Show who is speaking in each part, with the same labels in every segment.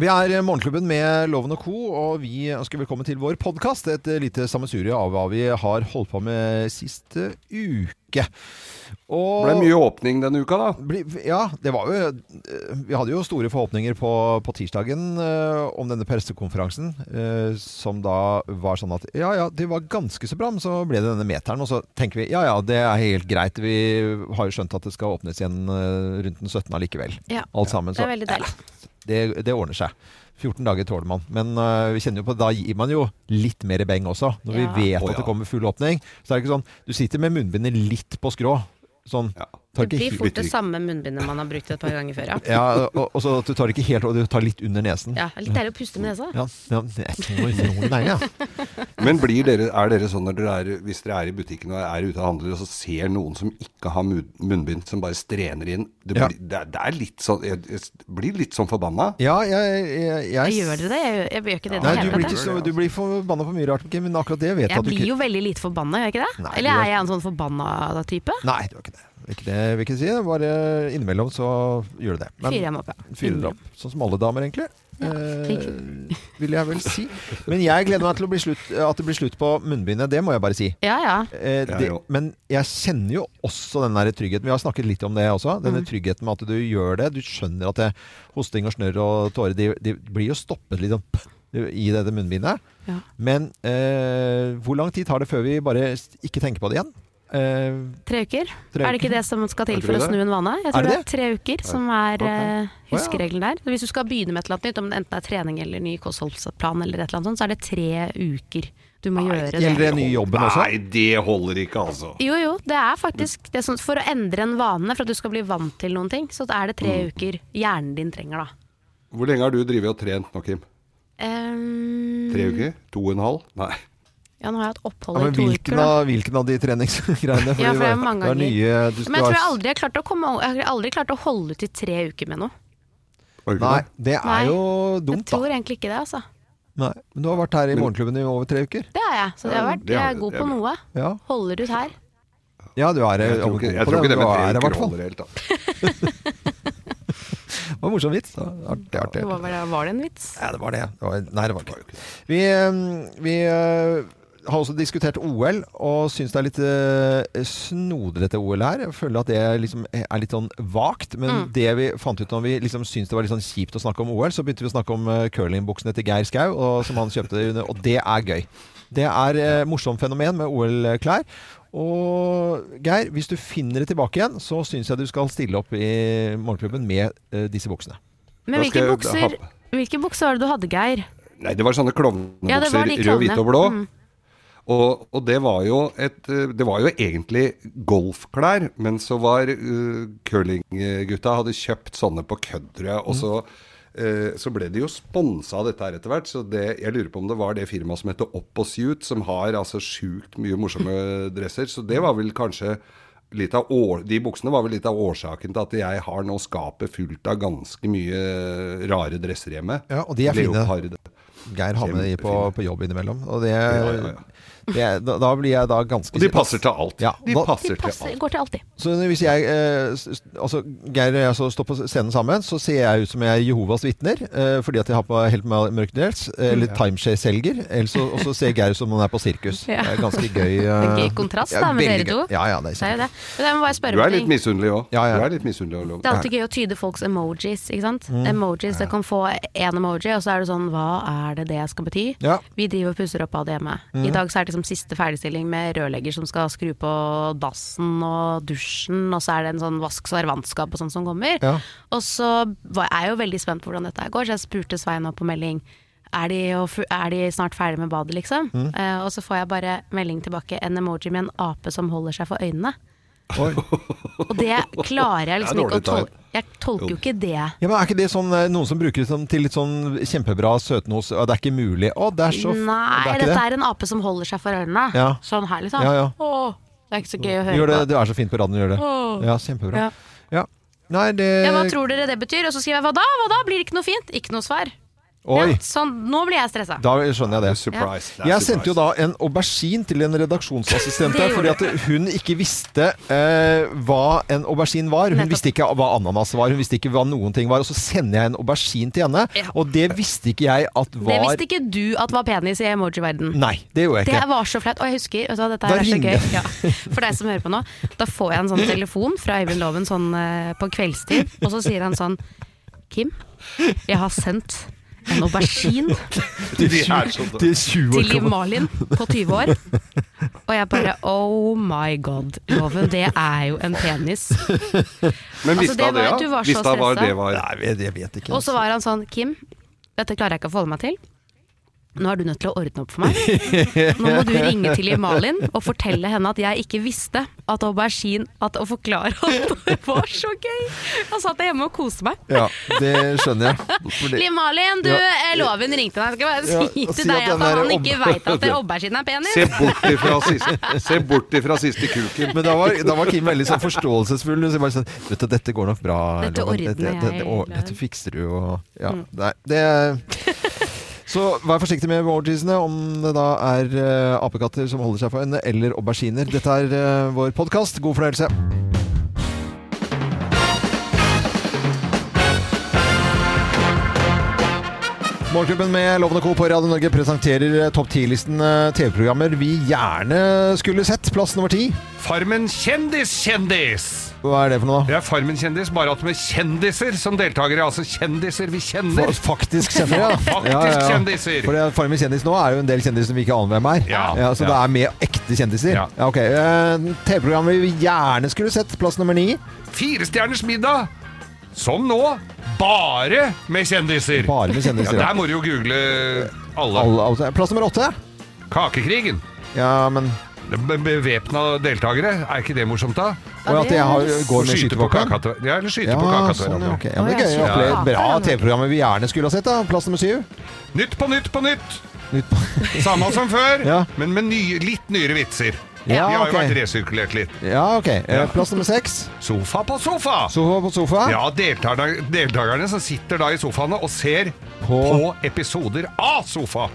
Speaker 1: Vi er Morgenklubben med Loven og Co., og vi ønsker velkommen til vår podkast. Et lite sammensurie av hva vi har holdt på med siste uke.
Speaker 2: Det ble mye åpning denne uka, da.
Speaker 1: Bli- Ja, det var jo eh, Vi hadde jo store forhåpninger på, på tirsdagen eh, om denne pressekonferansen, eh, som da var sånn at ja ja, det var ganske så bra, men så ble det denne meteren. Og så tenker vi ja ja, det er helt greit. Vi har jo skjønt at det skal åpnes igjen eh, rundt den 17. allikevel.
Speaker 3: Ja.
Speaker 1: Alt sammen.
Speaker 3: Det
Speaker 1: Så
Speaker 3: er veldig deilig.
Speaker 1: det, det ordner seg. 14 dager tåler man. Men øh, vi kjenner jo på da gir man jo litt mer beng også. Når
Speaker 3: Ja.
Speaker 1: vi vet
Speaker 2: Å,
Speaker 1: at
Speaker 2: ja.
Speaker 1: det kommer full åpning, så er det ikke sånn Du sitter med munnbindet litt på skrå. Sånn.
Speaker 2: Ja.
Speaker 3: Det
Speaker 1: Tar ikke
Speaker 3: blir
Speaker 1: he-
Speaker 3: fort det samme munnbindet man har brukt et par ganger før, ja.
Speaker 1: ja, og, og så at du tar ikke helt over, du tar litt under nesen.
Speaker 3: ja det er litt deilig å puste med nesa.
Speaker 1: Ja, ja, det er så utrolig deilig, ja.
Speaker 2: Men blir dere, er dere sånn når dere er, hvis dere er i butikken og er ute og handler, og så ser noen som ikke har mu- munnbind, som bare strener inn Det,
Speaker 1: Ja.
Speaker 2: blir, det, er- det er litt sånn Jeg, jeg blir litt sånn forbanna.
Speaker 1: Ja, jeg, jeg, jeg
Speaker 3: Jeg gjør dere det? Jeg, gjør- jeg gjør ikke det i
Speaker 1: Nei, du
Speaker 3: det hele
Speaker 1: blir,
Speaker 3: tatt.
Speaker 1: ikke
Speaker 3: jeg.
Speaker 1: så, du blir forbanna på mye rart, Kim, men akkurat det vet jeg
Speaker 3: Jeg
Speaker 1: at du
Speaker 3: blir
Speaker 1: ikke
Speaker 3: jo veldig lite forbanna, gjør jeg ikke det?
Speaker 1: Nei,
Speaker 3: Eller
Speaker 1: du
Speaker 3: er
Speaker 1: er-
Speaker 3: jeg en sånn forbanna type?
Speaker 1: Nei, du er ikke det. Ikke det vil jeg ikke si. Bare innimellom så gjør du det. Men-
Speaker 3: Fyrer jeg meg opp, ja.
Speaker 1: Fyrer opp. Sånn som alle damer, egentlig.
Speaker 3: Ja,
Speaker 1: Eh,
Speaker 3: slik.
Speaker 1: vil jeg vel si. Men jeg gleder meg til å bli slutt, at det blir slutt på munnbindet. Det må jeg bare si.
Speaker 3: Ja ja.
Speaker 1: Eh,
Speaker 2: Ja,
Speaker 1: det,
Speaker 2: jo.
Speaker 1: men jeg kjenner jo også den der tryggheten. Vi har snakket litt om det også. Denne
Speaker 3: Mm.
Speaker 1: tryggheten med at du gjør det. Du skjønner at det, hosting og snørr og tårer de, de blir jo stoppet litt sånn i dette munnbindet.
Speaker 3: Ja.
Speaker 1: Men eh, hvor lang tid tar det før vi bare s- ikke tenker på det igjen? Eh,
Speaker 3: Tre uker.
Speaker 1: tre
Speaker 3: Er det ikke det som skal til
Speaker 2: Jeg
Speaker 3: for
Speaker 2: tror
Speaker 3: å
Speaker 2: det.
Speaker 3: snu en vane? Jeg
Speaker 1: Er
Speaker 3: tror det
Speaker 1: det
Speaker 3: er tre uker som er
Speaker 2: Ok.
Speaker 3: eh, huskeregelen der. Hvis du skal begynne med et eller annet nytt, om det enten er trening eller ny kostholdsplan eller et eller annet sånt, så er det tre uker du må gjøre det.
Speaker 1: Gjelder det nye jobben også?
Speaker 2: Nei, det holder ikke, altså.
Speaker 3: Jo jo, det er faktisk det som For å endre en vane, for at du skal bli vant til noen ting, så er det tre
Speaker 2: Mm.
Speaker 3: uker hjernen din trenger da.
Speaker 2: Hvor lenge har du drevet og trent nå, Kim?
Speaker 3: Ehm,
Speaker 2: Tre uker? To og en halv? Nei.
Speaker 3: Ja, nå har jeg hatt
Speaker 1: Ja,
Speaker 3: opphold i
Speaker 1: men
Speaker 3: to
Speaker 1: hvilken
Speaker 3: uker. Da.
Speaker 1: av, hvilken av de treningsgreiene? Fordi
Speaker 3: Ja, for det er mange
Speaker 1: det
Speaker 3: ganger.
Speaker 1: nye, du skal
Speaker 3: Men jeg tror jeg
Speaker 1: ha-
Speaker 3: aldri har klart å, komme, jeg har aldri klart å holde ut i tre uker med noe.
Speaker 2: Orker
Speaker 1: Nei,
Speaker 2: det?
Speaker 1: det er
Speaker 3: Nei.
Speaker 1: jo
Speaker 3: Jeg
Speaker 1: dumt, da.
Speaker 3: tror egentlig ikke det, altså.
Speaker 1: Nei, men du har vært her i
Speaker 2: Men-
Speaker 1: Morgenklubben i over tre uker.
Speaker 3: Det har jeg, så det har
Speaker 2: Ja,
Speaker 3: vært,
Speaker 2: det har
Speaker 3: jeg
Speaker 2: du,
Speaker 3: er god
Speaker 2: det
Speaker 3: på
Speaker 2: er
Speaker 3: noe.
Speaker 1: Ja,
Speaker 3: Holder ut her.
Speaker 1: ja du er
Speaker 2: Jeg tror ikke, jeg tror ikke det med tre uker holder helt, da.
Speaker 1: Det var en morsom vits. Artig, artig.
Speaker 3: Det var, var det- var det en vits?
Speaker 1: Ja, det var det. det var, nei, det var ikke det. Vi, eh, vi eh, har også diskutert OL, og syns det er litt eh, snodrete OL her. Jeg føler at det liksom er litt sånn vagt. Men det vi fant ut når vi liksom syntes det var litt sånn kjipt å snakke om OL, så begynte vi å snakke om eh, curlingbuksene til Geir Skau, og, som han kjøpte under, og det er gøy. Det er eh, morsomt fenomen med OL-klær. Og Geir, hvis du finner det tilbake igjen, så syns jeg du skal stille opp i Morgenklubben med eh, disse buksene.
Speaker 2: Da
Speaker 3: Men
Speaker 2: skal
Speaker 3: hvilke
Speaker 2: jeg ha
Speaker 3: bukser,
Speaker 2: på-
Speaker 3: hvilke bukser var det du hadde, Geir?
Speaker 2: Nei, det var sånne klovnebukser.
Speaker 3: Ja, det var de
Speaker 2: rød,
Speaker 3: klovnene.
Speaker 2: hvit og blå.
Speaker 3: Mm.
Speaker 2: Og, og det var jo et eh, Det var jo egentlig golfklær, men så var uh, curlinggutta hadde kjøpt sånne på kødd, tror jeg. Og
Speaker 3: Mm.
Speaker 2: så, eh, så ble de jo sponsa av dette her etter hvert, så det, jeg lurer på om det var det firmaet som heter Opposuit, som har altså sjukt mye morsomme dresser. Så det var vel kanskje litt av år, De buksene var vel litt av årsaken til at jeg har nå skapet fullt av ganske mye rare dresser hjemme.
Speaker 1: Ja, og de er fine.
Speaker 2: Leopard.
Speaker 1: Geir har med de på,
Speaker 2: Kjempefine.
Speaker 1: på jobb innimellom. Og det,
Speaker 2: ja, ja.
Speaker 1: det, da, da blir jeg da ganske
Speaker 2: Og de passer til alt.
Speaker 1: Ja,
Speaker 2: de
Speaker 1: hva-
Speaker 2: passer
Speaker 3: De
Speaker 2: til alt.
Speaker 3: passer, går til alltid.
Speaker 1: Så hvis jeg eh, s- s- altså, Geir og jeg så står på scenen sammen, så ser jeg ut som jeg er Jehovas vitner. Eh, fordi at jeg har på helt mør- mørk dress. eh, Eller timeshare-selger. eller så- Og så ser Geir ut som om han er på sirkus.
Speaker 3: Ja.
Speaker 1: Det er ganske gøy. eh,
Speaker 3: En gøy kontrast, da, med
Speaker 1: veldig
Speaker 3: dere
Speaker 1: gøy.
Speaker 3: to.
Speaker 1: Ja, ja, det er
Speaker 3: Det er jo
Speaker 1: kjempe-
Speaker 3: det. Men jeg må bare spørre
Speaker 2: Du
Speaker 3: om
Speaker 2: er
Speaker 3: en
Speaker 2: litt
Speaker 3: ting.
Speaker 2: misunnelig òg.
Speaker 1: Ja, ja.
Speaker 2: Du er litt misunnelig også, Loven.
Speaker 3: Det er alltid gøy å tyde folks emojis, ikke sant.
Speaker 1: Mm.
Speaker 3: Emojis, det kan få én emoji, og så er det sånn hva er det det skal bety?
Speaker 1: Ja. Mm.
Speaker 3: Vi driver og pusser opp ADM. I dag så er det liksom siste ferdigstilling med rørlegger som skal skru på dassen og dusjen, og så er det en sånn vask servantskap og sånn som kommer.
Speaker 1: Ja.
Speaker 3: Og så var er jeg jo veldig spent på hvordan dette her går, så jeg spurte Svein nå på melding. Er de, jo fu- er de snart ferdig med badet, liksom?
Speaker 1: Mm.
Speaker 3: Eh, og så får jeg bare melding tilbake, en emoji med en ape som holder seg for øynene.
Speaker 1: Oi.
Speaker 3: Og det klarer jeg liksom
Speaker 2: Det er
Speaker 3: ikke å
Speaker 2: dårlig tegn.
Speaker 3: tolke. Jeg tolker jo ikke det.
Speaker 1: Ja, men Er ikke det sånn, eh, noen som bruker det sånn, til litt sånn kjempebra søtnos? og Det er ikke mulig. Å, det er så f-
Speaker 3: Nei,
Speaker 1: det er ikke
Speaker 3: dette
Speaker 1: det.
Speaker 3: er en ape som holder seg for ørene.
Speaker 1: Ja.
Speaker 3: Sånn her, liksom.
Speaker 1: Ja, ja.
Speaker 3: Åh, det er ikke så gøy å
Speaker 1: Du
Speaker 3: høre
Speaker 1: Gjør
Speaker 3: på.
Speaker 1: det, du er så fint på radioen, du gjør det.
Speaker 3: Åh.
Speaker 1: Ja, kjempebra.
Speaker 3: Ja.
Speaker 1: Ja. Nei, det
Speaker 3: Ja, hva tror dere det betyr? Og så skriver jeg hva da? Hva da? Blir det ikke noe fint? Ikke noe svar.
Speaker 1: Oi!
Speaker 3: Ja, sånn, nå blir jeg stressa.
Speaker 1: Da skjønner jeg det.
Speaker 2: Surprise. det er
Speaker 1: Jeg
Speaker 2: surprise.
Speaker 1: sendte jo da en aubergine til en redaksjonsassistent
Speaker 3: Det
Speaker 1: der, fordi
Speaker 3: gjorde
Speaker 1: at hun ikke visste eh, hva en aubergine var. Hun
Speaker 3: Nettopp.
Speaker 1: visste ikke hva ananas var, hun visste ikke hva noen ting var. Og så sender jeg en aubergine til henne,
Speaker 3: Ja.
Speaker 1: og det visste ikke jeg at
Speaker 3: Det
Speaker 1: var
Speaker 3: visste ikke du at var penis i emoji-verden.
Speaker 1: Nei, det gjorde jeg
Speaker 3: Det
Speaker 1: ikke.
Speaker 3: var så flaut. Og jeg husker, vet du, hva, dette
Speaker 1: Da
Speaker 3: her er så
Speaker 1: ringer jeg.
Speaker 3: gøy. Ja. For deg som hører på nå, da får jeg en sånn telefon fra Øyvind Loven sånn eh, på kveldstid, og så sier han sånn Kim, jeg har sendt en aubergine
Speaker 1: Til
Speaker 2: De er
Speaker 1: 20
Speaker 2: sånn- så-
Speaker 1: til 20 år
Speaker 3: til Liv
Speaker 1: gammel.
Speaker 3: Malin på 20 år. Og jeg bare oh my god, Loven, det er jo en penis.
Speaker 2: Men
Speaker 3: Altså,
Speaker 2: visste
Speaker 3: det
Speaker 2: han det,
Speaker 3: var-
Speaker 2: ja?
Speaker 3: du var så
Speaker 2: Visste han hva
Speaker 3: stressa.
Speaker 2: det var?
Speaker 1: Nei, jeg vet- jeg vet ikke.
Speaker 3: Og så var han sånn Kim, dette klarer jeg ikke å forholde meg til. Nå er du nødt til å ordne opp for meg. Nå må du ringe til Liv Malin og fortelle henne at jeg ikke visste at aubergine at Å forklare at det var så gøy! Han satt hjemme og koste meg.
Speaker 1: Ja, det skjønner jeg. For det-
Speaker 3: Liv Malin, du,
Speaker 1: Ja.
Speaker 3: eh, Loven ringte deg. Jeg skal
Speaker 1: Ja,
Speaker 3: bare si
Speaker 1: og si
Speaker 3: til deg
Speaker 1: at den
Speaker 3: at han
Speaker 1: der
Speaker 3: ikke
Speaker 1: ob-
Speaker 3: veit at det aubergine er penis.
Speaker 2: Se bort ifra siste, se bort ifra siste kuken.
Speaker 1: Men da var, da var Kim veldig sånn forståelsesfull. Så jeg bare sånn, vet du, dette går nok bra.
Speaker 3: Dette
Speaker 1: Loven.
Speaker 3: ordner
Speaker 1: dette,
Speaker 3: jeg, Mm.
Speaker 1: dette, å,
Speaker 3: Loven.
Speaker 1: dette fikser du og Ja. Nei, det Så vær forsiktig med emojisene om det da er eh, apekatter som holder seg for øynene, eller auberginer. Dette er eh, vår podkast. God fornøyelse. Morgenklubben med Loven og Co. på Radio Norge presenterer topp 10-listen eh, TV-programmer vi gjerne skulle sett. Plass nummer ti.
Speaker 2: Farmen kjendis-kjendis!
Speaker 1: Hva er det for noe, da?
Speaker 2: Det er Farmen kjendis, bare at med kjendiser som deltakere. Altså kjendiser vi kjenner.
Speaker 1: Fa- Faktisk kjenner jeg, da.
Speaker 2: Faktisk kjendiser.
Speaker 1: For det er Farmen kjendis nå er jo en del kjendiser som vi ikke aner hvem er.
Speaker 2: Ja.
Speaker 1: så det
Speaker 2: Ja.
Speaker 1: er med ekte kjendiser.
Speaker 2: Ja.
Speaker 1: ok. Eh, TV-program vi gjerne skulle sett, plass nummer ni.
Speaker 2: Firestjerners middag, som nå, bare med kjendiser.
Speaker 1: Bare med
Speaker 2: Ja,
Speaker 1: kjendiser.
Speaker 2: der må du jo google alle.
Speaker 1: Alle, altså, plass nummer åtte.
Speaker 2: Kakekrigen.
Speaker 1: Ja, men
Speaker 2: Bevæpna deltakere, er ikke det morsomt, da?
Speaker 1: Og at jeg har, går med
Speaker 2: Skyte på
Speaker 1: skytevåpen.
Speaker 2: kaka til- Ja, eller skyte
Speaker 1: Ja,
Speaker 2: på kaka til
Speaker 1: sånn, ja,
Speaker 2: hverandre.
Speaker 1: ok. ja, men det er
Speaker 3: Å,
Speaker 1: gøy.
Speaker 3: ja,
Speaker 1: opplegg.
Speaker 3: sånn.
Speaker 1: Bra
Speaker 3: Ja.
Speaker 1: TV-program vi gjerne skulle ha sett. da Plass nummer syv.
Speaker 2: Nytt på nytt på nytt!
Speaker 1: Nytt på-
Speaker 2: Samme som før,
Speaker 1: Ja.
Speaker 2: men med nye, litt nyere vitser.
Speaker 1: Ja,
Speaker 2: De har jo
Speaker 1: ok.
Speaker 2: vært resirkulert litt.
Speaker 1: Ja, ok. Eh,
Speaker 2: Ja.
Speaker 1: Plass nummer seks.
Speaker 2: Sofa på sofa!
Speaker 1: Sofa på sofa.
Speaker 2: Ja, deltakerne, deltakerne som sitter da i sofaene og ser på, episoder av sofa.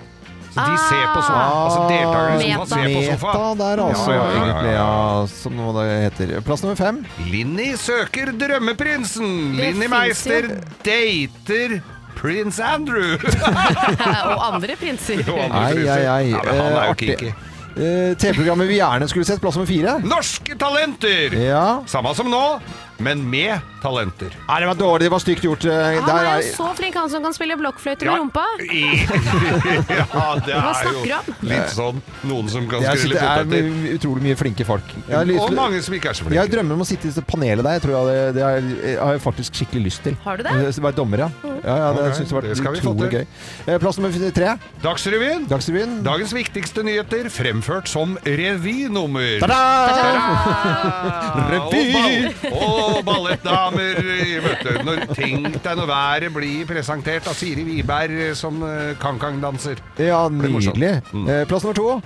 Speaker 2: Så de
Speaker 3: Ah.
Speaker 2: ser på sofa. Altså deltakerne i sofa ser
Speaker 3: Meta.
Speaker 2: på sofa.
Speaker 1: Meta der, altså.
Speaker 2: Ja, ja, ja, ja, ja.
Speaker 1: Egentlig, ja. Som hva det heter. Plass nummer fem.
Speaker 2: Linni søker drømmeprinsen.
Speaker 3: Det
Speaker 2: Linni
Speaker 3: finnes
Speaker 2: Meister
Speaker 3: jo.
Speaker 2: dater prins Andrew.
Speaker 3: Og andre prinser.
Speaker 2: Og andre
Speaker 1: Ai,
Speaker 2: prinser.
Speaker 1: ai, ai.
Speaker 2: Ja, men han
Speaker 1: Eh,
Speaker 2: er jo
Speaker 1: artig.
Speaker 2: kinky.
Speaker 1: Eh, TV-programmet vi gjerne skulle sett, plass nummer fire.
Speaker 2: Norske talenter!
Speaker 1: Ja.
Speaker 2: Samme som nå, men med talenter.
Speaker 1: Nei, det var dårlig, det var stygt gjort. eh,
Speaker 3: Han
Speaker 1: der
Speaker 3: er jo
Speaker 1: er-
Speaker 3: så flink, han som kan spille blokkfløyte
Speaker 2: Ja.
Speaker 3: med rumpa.
Speaker 2: I- ja, det
Speaker 3: Hva
Speaker 2: er
Speaker 3: snakker du
Speaker 2: jo
Speaker 3: om?
Speaker 2: litt sånn noen som kan
Speaker 1: jeg synes
Speaker 2: skrille
Speaker 1: det er
Speaker 2: poteter.
Speaker 1: utrolig mye flinke folk. Jeg, har lyst-
Speaker 2: Og mange som ikke er så
Speaker 1: jeg
Speaker 2: flinke.
Speaker 1: drømmer om å sitte i det panelet der. Jeg tror jeg, det, det er, jeg har jeg faktisk skikkelig lyst til.
Speaker 3: Har du det? Mm.
Speaker 1: Eh, Være dommer, ja. ja, ja det synes
Speaker 2: Ok,
Speaker 1: jeg
Speaker 2: det
Speaker 1: var
Speaker 2: skal vi få
Speaker 1: utrolig
Speaker 2: til.
Speaker 1: gøy. Eh, Plass nummer f- tre.
Speaker 2: Dagsrevyen.
Speaker 1: Dagsrevyen.
Speaker 2: Dagens viktigste nyheter fremført som revynummer.
Speaker 1: Ta-da!
Speaker 2: Revy!
Speaker 1: Revy!
Speaker 2: Og, ball, og ballettdamer. i møte. Når ting deg når været blir presentert av Siri Wiberg som eh, kan-kan-danser.
Speaker 1: Ja,
Speaker 2: blir morsomt.
Speaker 1: nydelig.
Speaker 2: Mm.
Speaker 1: Eh, Plass nummer to.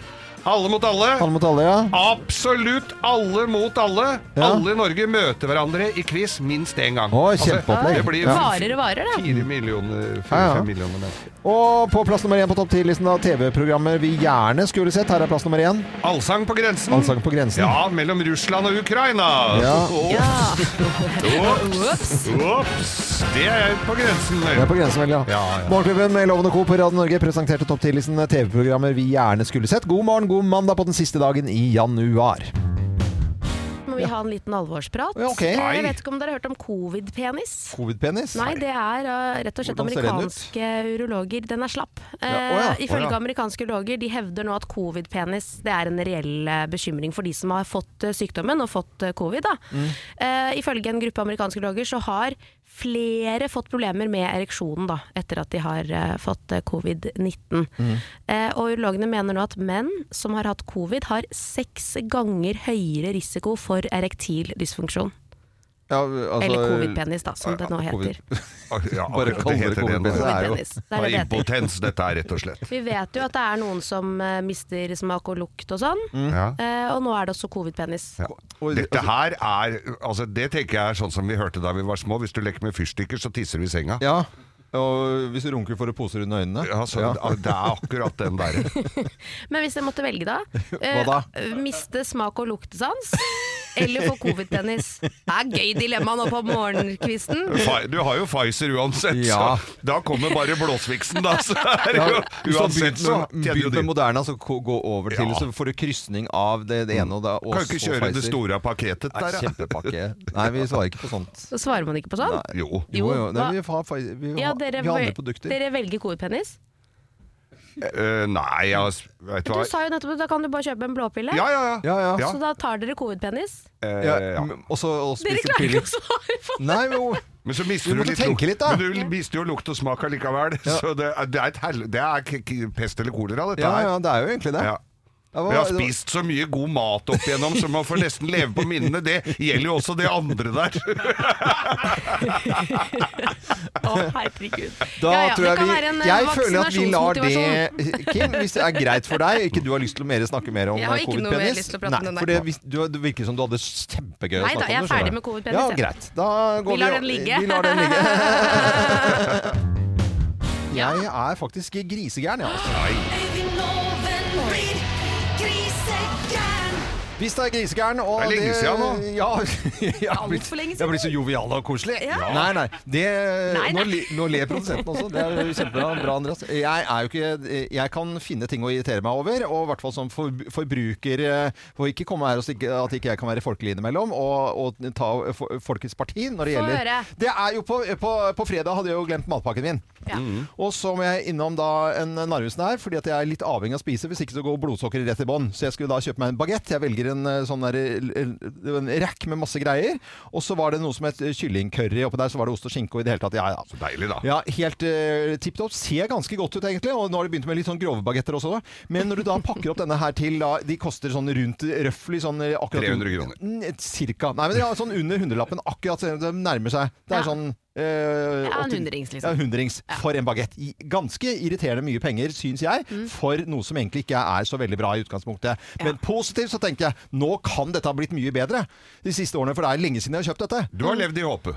Speaker 2: Alle mot alle.
Speaker 1: Alle mot alle, ja.
Speaker 2: Absolutt alle mot alle.
Speaker 1: Ja.
Speaker 2: Alle i Norge møter hverandre i quiz minst én gang.
Speaker 1: Å,
Speaker 2: Altså,
Speaker 1: kjempeopplegg.
Speaker 2: det blir
Speaker 1: Ja.
Speaker 3: Varer og varer, det.
Speaker 2: fire millioner,
Speaker 1: Ja, ja.
Speaker 2: fire-fem millioner mennesker.
Speaker 1: Og på plass nummer én på topp ti-listen av TV-programmer vi gjerne skulle sett. Her er plass nummer én.
Speaker 2: Allsang på grensen.
Speaker 1: Allsang på grensen.
Speaker 2: Ja, mellom Russland og Ukraina.
Speaker 1: Ja.
Speaker 2: Åh,
Speaker 3: Ja.
Speaker 2: Ops! Ops! Det er jeg på grensen.
Speaker 1: Det er på grensen, vel, ja.
Speaker 2: Ja, ja.
Speaker 1: Morgenklubben med Loven og Co. på Radio Norge presenterte topp 10-listen TV-programmer vi gjerne skulle sett. God morgen, god mandag på den siste dagen i januar.
Speaker 3: Må vi ha en liten alvorsprat?
Speaker 1: Ja, ok.
Speaker 3: Eh,
Speaker 2: Nei.
Speaker 3: Jeg vet ikke om dere har hørt om covid-penis?
Speaker 1: Covid-penis?
Speaker 3: Nei, det er eh, rett og slett
Speaker 1: Hvordan ser den ut?
Speaker 3: amerikanske urologer. Den er slapp. Eh,
Speaker 1: Ja, å ja, å
Speaker 3: Ifølge
Speaker 1: ja.
Speaker 3: amerikanske urologer de hevder nå at covid-penis det er en reell eh, bekymring for de som har fått eh, sykdommen og fått eh, covid. Da.
Speaker 1: Mm.
Speaker 3: Eh, ifølge en gruppe amerikanske urologer så har flere fått problemer med ereksjonen da, etter at de har eh, fått eh, covid-19.
Speaker 1: Mm.
Speaker 3: Eh, og urologene mener nå at menn som har hatt covid, har seks ganger høyere risiko for erektil dysfunksjon.
Speaker 1: Ja, altså, eh,
Speaker 3: Eller covid-penis, da, som det nå
Speaker 1: covid.
Speaker 3: heter.
Speaker 2: Ja,
Speaker 1: Bare
Speaker 2: akkurat
Speaker 1: kall det
Speaker 2: heter
Speaker 1: covid-penis.
Speaker 2: nå.
Speaker 1: Det er jo-
Speaker 3: Covid-penis. Det er det
Speaker 2: Og
Speaker 3: det heter.
Speaker 2: impotens, dette er rett og slett.
Speaker 3: Vi vet jo at det er noen som eh, mister smak og lukt og sånn.
Speaker 1: Mm.
Speaker 2: Ja.
Speaker 3: Eh, og nå er det også covid-penis.
Speaker 2: Ja. Dette her altså, er altså Det tenker jeg er sånn som vi hørte da vi var små. Hvis du leker med fyrstikker, så tisser du i senga.
Speaker 1: Ja. Og hvis du runker får du poser under øynene.
Speaker 2: Ja, så,
Speaker 1: Ja.
Speaker 2: Det er akkurat den der.
Speaker 3: Men hvis jeg måtte velge, da?
Speaker 1: Hva da?
Speaker 3: eh, Miste smak og luktesans? Eller få covid-tennis? Det er gøy dilemma nå på morgenkvisten.
Speaker 2: Fi- Du har jo Pfizer uansett,
Speaker 1: Ja.
Speaker 2: så da kommer bare blåsviksen, da. Så er det
Speaker 1: Ja,
Speaker 2: jo,
Speaker 1: hvis du har
Speaker 2: uansett
Speaker 1: begynt
Speaker 2: så
Speaker 1: med,
Speaker 2: tjener jo
Speaker 1: begynt
Speaker 2: de.
Speaker 1: med Moderna, så ko- gå over til
Speaker 2: Ja. Mm.
Speaker 1: Så får du krysning av det, det ene og det og
Speaker 2: Kan ikke
Speaker 1: så
Speaker 2: kjøre det
Speaker 1: Pfizer.
Speaker 2: store paketet
Speaker 1: Nei,
Speaker 2: der, da.
Speaker 1: Kjempepakke. Nei, vi svarer ikke på sånt.
Speaker 3: Så svarer man ikke på sånn?
Speaker 2: Jo.
Speaker 1: Jo, jo. Nei,
Speaker 3: hva-
Speaker 1: vi har, Pfizer- vi har,
Speaker 3: ja, dere,
Speaker 1: vi har andre produkter.
Speaker 3: dere velger covid-penis?
Speaker 2: Eh, nei, jeg har s- Vet du
Speaker 3: Du
Speaker 2: hva.
Speaker 3: sa jo nettopp at da kan du bare kjøpe en blåpille.
Speaker 2: Ja, ja, ja.
Speaker 1: Ja, ja.
Speaker 2: Ja.
Speaker 3: Så da tar dere covid-penis?
Speaker 2: Eh,
Speaker 1: ja,
Speaker 2: ja.
Speaker 1: m- Og så og
Speaker 3: Dere
Speaker 1: spise
Speaker 3: klarer ikke
Speaker 1: piller.
Speaker 3: å svare på det!
Speaker 1: Nei, men jo.
Speaker 2: Men så mister
Speaker 1: Du
Speaker 2: du,
Speaker 1: måtte
Speaker 2: litt,
Speaker 1: tenke
Speaker 2: luk-
Speaker 1: litt, da.
Speaker 2: Men du mister jo lukt og smak allikevel.
Speaker 1: Ja.
Speaker 2: Så det, er- det er, et hel det er k- k- pest eller kolera, dette
Speaker 1: Ja,
Speaker 2: her.
Speaker 1: ja, det er jo egentlig det.
Speaker 2: Ja.
Speaker 1: Det var-
Speaker 2: Vi har spist så mye god mat opp igjennom, så man får nesten leve på minnene. Det gjelder jo også det andre der.
Speaker 3: Å, herregud.
Speaker 1: Da
Speaker 3: Ja, ja,
Speaker 1: tror
Speaker 3: det
Speaker 1: jeg vi
Speaker 3: kan være en, eh,
Speaker 1: Jeg føler at vi lar
Speaker 3: vaksinasjonsmotivasjon.
Speaker 1: det Kim, hvis det er greit for deg, ikke du har lyst til å mer snakke mer om
Speaker 3: Jeg har ikke noe mer
Speaker 1: covid-penis
Speaker 3: lyst til å prate om
Speaker 1: Nei,
Speaker 3: den der.
Speaker 1: for det, hvis- du, det virker som du hadde kjempegøy å
Speaker 3: Nei
Speaker 1: snakke
Speaker 3: da,
Speaker 1: om
Speaker 3: jeg er
Speaker 1: det, skjønner
Speaker 3: ferdig med covid-penis,
Speaker 1: Ja,
Speaker 3: jeg.
Speaker 1: greit. Da går
Speaker 3: Vi lar den ligge.
Speaker 1: Vi lar den ligge.
Speaker 3: Ja.
Speaker 1: Jeg er faktisk grisegæren, jeg. Ja, altså.
Speaker 4: Øyvind Loven blir grisegæren.
Speaker 1: Hvis det er grisegæren og
Speaker 2: Det er lenge siden nå.
Speaker 1: Ja, jeg har blitt,
Speaker 3: for lenge
Speaker 1: jeg har blitt så jovial og koselig.
Speaker 3: Ja.
Speaker 1: Nei, nei. Det,
Speaker 3: Nei, nei.
Speaker 1: Nå, le- nå ler produsenten også. Det er kjempebra, bra, Andreas. Jeg, er jo ikke, jeg kan finne ting å irritere meg over, og i hvert fall som for, forbruker eh, Får ikke komme her og stikke at ikke jeg kan være folkelig innimellom, og, og ta eh, for- folkets parti når det
Speaker 3: Få
Speaker 1: gjelder
Speaker 3: høre.
Speaker 1: Det er jo på, på, på fredag hadde jeg jo glemt matpakken min.
Speaker 3: Ja.
Speaker 1: Og så må jeg innom da en Narvesen her, fordi at jeg er litt avhengig av å spise. Hvis ikke så går blodsukkeret rett i bånn. Så jeg skulle da kjøpe meg en bagett. Jeg velger en eh, sånn der, eh, l- en rack med masse greier. Og så var det noe som het eh, kyllingcurry oppi der. Så var det ost og skinke og i det hele tatt. Ja, ja.
Speaker 2: Deilig, da.
Speaker 1: Ja, helt uh, tipp topp. Ser ganske godt ut, egentlig. Og nå har de begynt med litt sånn grove bagetter også. Men når du da pakker opp denne her til da, De koster sånn rundt røftlig sånn eh, akkurat
Speaker 2: 300 kroner.
Speaker 1: Mm, et Cirka. Nei, men ja, sånn under hundrelappen. Akkurat eh, det nærmer seg. Det er
Speaker 3: Ja.
Speaker 1: sånn eh,
Speaker 3: Ja, en
Speaker 1: 80
Speaker 3: hundrings, liksom.
Speaker 1: Ja, hundrings for en bagett. I- Ganske irriterende mye penger, syns jeg,
Speaker 3: Mm.
Speaker 1: for noe som egentlig ikke er så veldig bra i utgangspunktet. Men positivt så tenker jeg, nå kan dette ha blitt mye bedre de siste årene, for det er lenge siden jeg har kjøpt dette.
Speaker 2: Du har levd i håpet.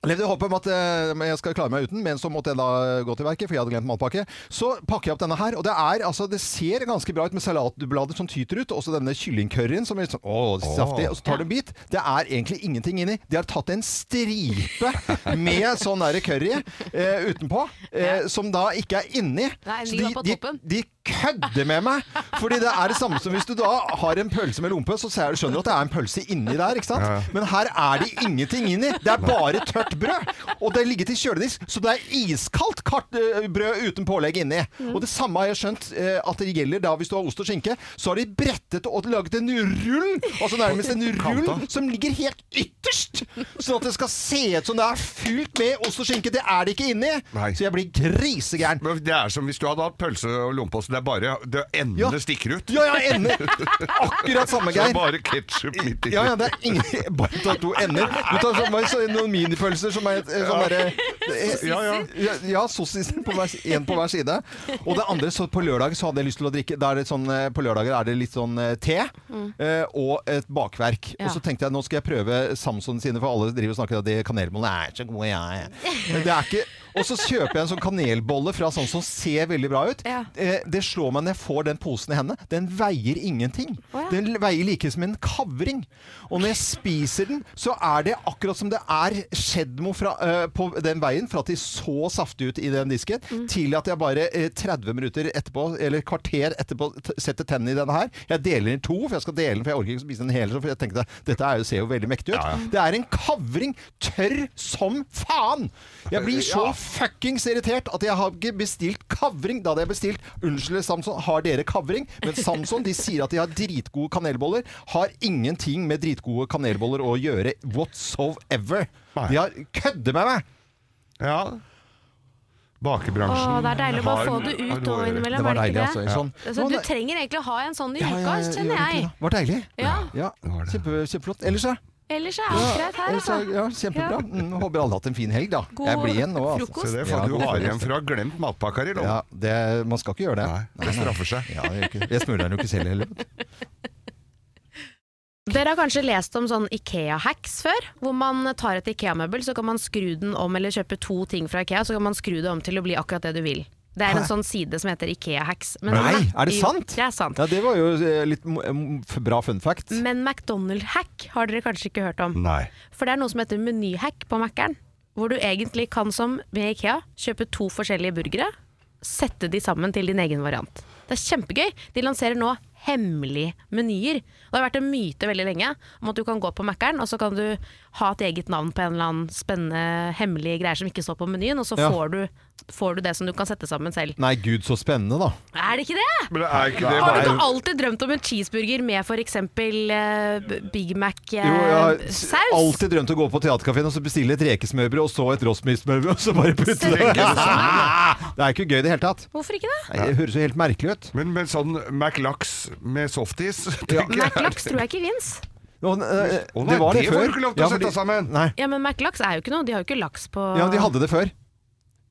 Speaker 1: Jeg levde i håp om at eh, jeg skal klare meg uten, men så måtte jeg da gå til verket, for jeg hadde glemt matpakke. Så pakker jeg opp denne her, og det er altså, det ser ganske bra ut med salatblader som tyter ut, og så denne kyllingcurryen som er litt sånn, åh, saftig, og så tar du en bit. Det er egentlig ingenting inni. De har tatt en stripe med sånn der curry eh, utenpå, eh, som da ikke er inni.
Speaker 3: Nei,
Speaker 1: Så
Speaker 3: ligger da på
Speaker 1: de,
Speaker 3: toppen.
Speaker 1: de kødder med meg! Fordi det er det samme som hvis du da har en pølse med lompe, så ser- skjønner du at det er en pølse inni der, ikke sant? Men her er det ingenting inni. Det er bare tørt brød. Og det ligger til kjøledisk, så det er iskaldt kart eh, brød uten pålegg inni. Og det samme har jeg skjønt eh, at det gjelder da hvis du har ost og skinke. Så har de brettet og laget en rull, altså nærmest en rull som ligger helt ytterst! Sånn at det skal se ut som det er fylt med ost og skinke. Det er det ikke inni!
Speaker 2: Nei.
Speaker 1: Så jeg blir grisegæren.
Speaker 2: Men Det er som hvis du hadde hatt pølse og lompe, så det er bare det endene
Speaker 1: Ja.
Speaker 2: stikker ut.
Speaker 1: Ja, ja, ender. Akkurat samme,
Speaker 2: Så det er
Speaker 1: Geir.
Speaker 2: bare ketsjup midt i.
Speaker 1: Ja, ja, det er ingen Bare ta to ender. Du tar sånn, bare så- noen minipølser som er eh, sånn derre eh,
Speaker 2: Ja, ja.
Speaker 1: Ja, ja sossiser på hver, en på hver side. Og det andre, så på lørdag så hadde jeg lyst til å drikke da er det sånn, eh, På lørdager er det litt sånn eh, te eh, og et bakverk.
Speaker 3: Ja.
Speaker 1: Og så tenkte jeg nå skal jeg prøve Samson sine, for alle driver og snakker om at de kanelbollene er så gode. Ja, ja. Men det er ikke Og så kjøper jeg en sånn kanelbolle fra Samson, ser veldig bra ut.
Speaker 3: Ja.
Speaker 1: Eh, Det slår meg når jeg får den posen i hendene. Den veier ingenting.
Speaker 3: Å, ja.
Speaker 1: Den den veier like som en kavring. Og når jeg spiser den, så er det akkurat som det er skjedmo fra, øh, på den veien, fra at de så saftig ut i den disken,
Speaker 3: Mm.
Speaker 1: til at jeg bare eh, 30 minutter etterpå, eller kvarter etterpå, t setter tennene i denne her. Jeg deler den i to, for jeg skal dele den, for jeg orker ikke å spise den hele, så for jeg tenkte dette er jo, ser jo veldig mektig ut.
Speaker 2: Ja, ja.
Speaker 1: Det er en kavring, tørr som faen! Jeg blir så
Speaker 2: Ja.
Speaker 1: fuckings irritert at jeg har ikke bestilt kavring. Da hadde jeg bestilt Unnskyld, Samson, har dere kavring? Men Samson de sier at de har dritgode kanelboller. Har ingenting med dritgode kanelboller å gjøre whatsoever.
Speaker 2: Nei.
Speaker 1: De har kødder med meg!
Speaker 2: Ja.
Speaker 3: Å,
Speaker 2: Bakebransjen
Speaker 3: det er deilig å bare
Speaker 2: har-
Speaker 3: få det
Speaker 2: har
Speaker 3: ut
Speaker 2: noe å
Speaker 3: og
Speaker 2: gjøre.
Speaker 3: innimellom,
Speaker 1: Det var
Speaker 3: er det
Speaker 1: deilig,
Speaker 3: ikke
Speaker 1: altså.
Speaker 3: det?
Speaker 1: Sånn.
Speaker 3: Altså, du trenger egentlig å ha en sånn i uka, kjenner
Speaker 1: gjør det
Speaker 3: jeg.
Speaker 1: da. Var deilig.
Speaker 3: Ja,
Speaker 1: Ja,
Speaker 2: var det.
Speaker 1: kjempe, kjempeflott. Ellers, ja.
Speaker 3: ellers er alt greit her,
Speaker 1: Ellers, ja,
Speaker 3: altså.
Speaker 1: ja kjempebra.
Speaker 3: Ja.
Speaker 1: Mm, håper alle har hatt en fin helg, da.
Speaker 3: God
Speaker 1: jeg blir igjen nå, altså.
Speaker 3: frokost.
Speaker 2: Så det
Speaker 1: Ja,
Speaker 2: får du
Speaker 1: god
Speaker 2: har
Speaker 1: frokost.
Speaker 2: igjen for å ha glemt matpakker i lommen.
Speaker 1: Ja, det, man skal ikke gjøre det.
Speaker 2: Nei, det straffer seg.
Speaker 1: Ja, det gjør ikke- jeg smuler den jo ikke selv heller.
Speaker 3: Dere har kanskje lest om sånn Ikea-hacks før, hvor man tar et Ikea-møbel, så kan man skru den om, eller kjøpe to ting fra Ikea, så kan man skru det om til å bli akkurat det du vil. Det er en sånn side som heter Ikea-hacks. Men- sånn
Speaker 1: Nei, er det
Speaker 3: Jo,
Speaker 1: sant?
Speaker 3: Det er sant.
Speaker 1: Ja, det var jo eh, litt mo- em, f- bra fun fact.
Speaker 3: Men McDonald-hack har dere kanskje ikke hørt om.
Speaker 2: Nei.
Speaker 3: For det er noe som heter menyhack på Mac-eren. Hvor du egentlig kan, som med Ikea, kjøpe to forskjellige burgere. Sette de sammen til din egen variant. Det er kjempegøy. De lanserer nå hemmelige menyer. Det har vært en myte veldig lenge om at du kan gå på Mac-eren, og så kan du ha et eget navn på en eller annen spennende hemmelige greier som ikke står på menyen, og så
Speaker 1: Ja.
Speaker 3: får, du, får du det som du kan sette sammen selv.
Speaker 1: Nei, gud, så spennende, da.
Speaker 3: Er det ikke det?
Speaker 2: Men er ikke det
Speaker 3: Har du
Speaker 2: bare
Speaker 3: ikke alltid drømt om en cheeseburger med f.eks. Uh, Big eh,
Speaker 1: Jo, jeg har
Speaker 3: Mac-saus?
Speaker 1: s- alltid drømt å gå på teaterkafeen og så bestille et rekesmørbrød, og så et rosmismørbrød, og så bare putte det
Speaker 2: Tenker du
Speaker 1: Det er ikke gøy i det hele tatt.
Speaker 3: Hvorfor ikke det?
Speaker 1: Nei, Det høres jo helt merkelig ut.
Speaker 2: Men med sånn McLax med softis tenker jeg.
Speaker 3: Mac-laks tror jeg ikke fins.
Speaker 1: Nå, eh,
Speaker 2: Å nei, det får du ikke lov til å sette
Speaker 1: fordi-
Speaker 2: sammen.
Speaker 1: Nei.
Speaker 3: Ja, men Mac-laks er jo ikke noe. De har jo ikke laks på
Speaker 1: Ja, men de hadde det før.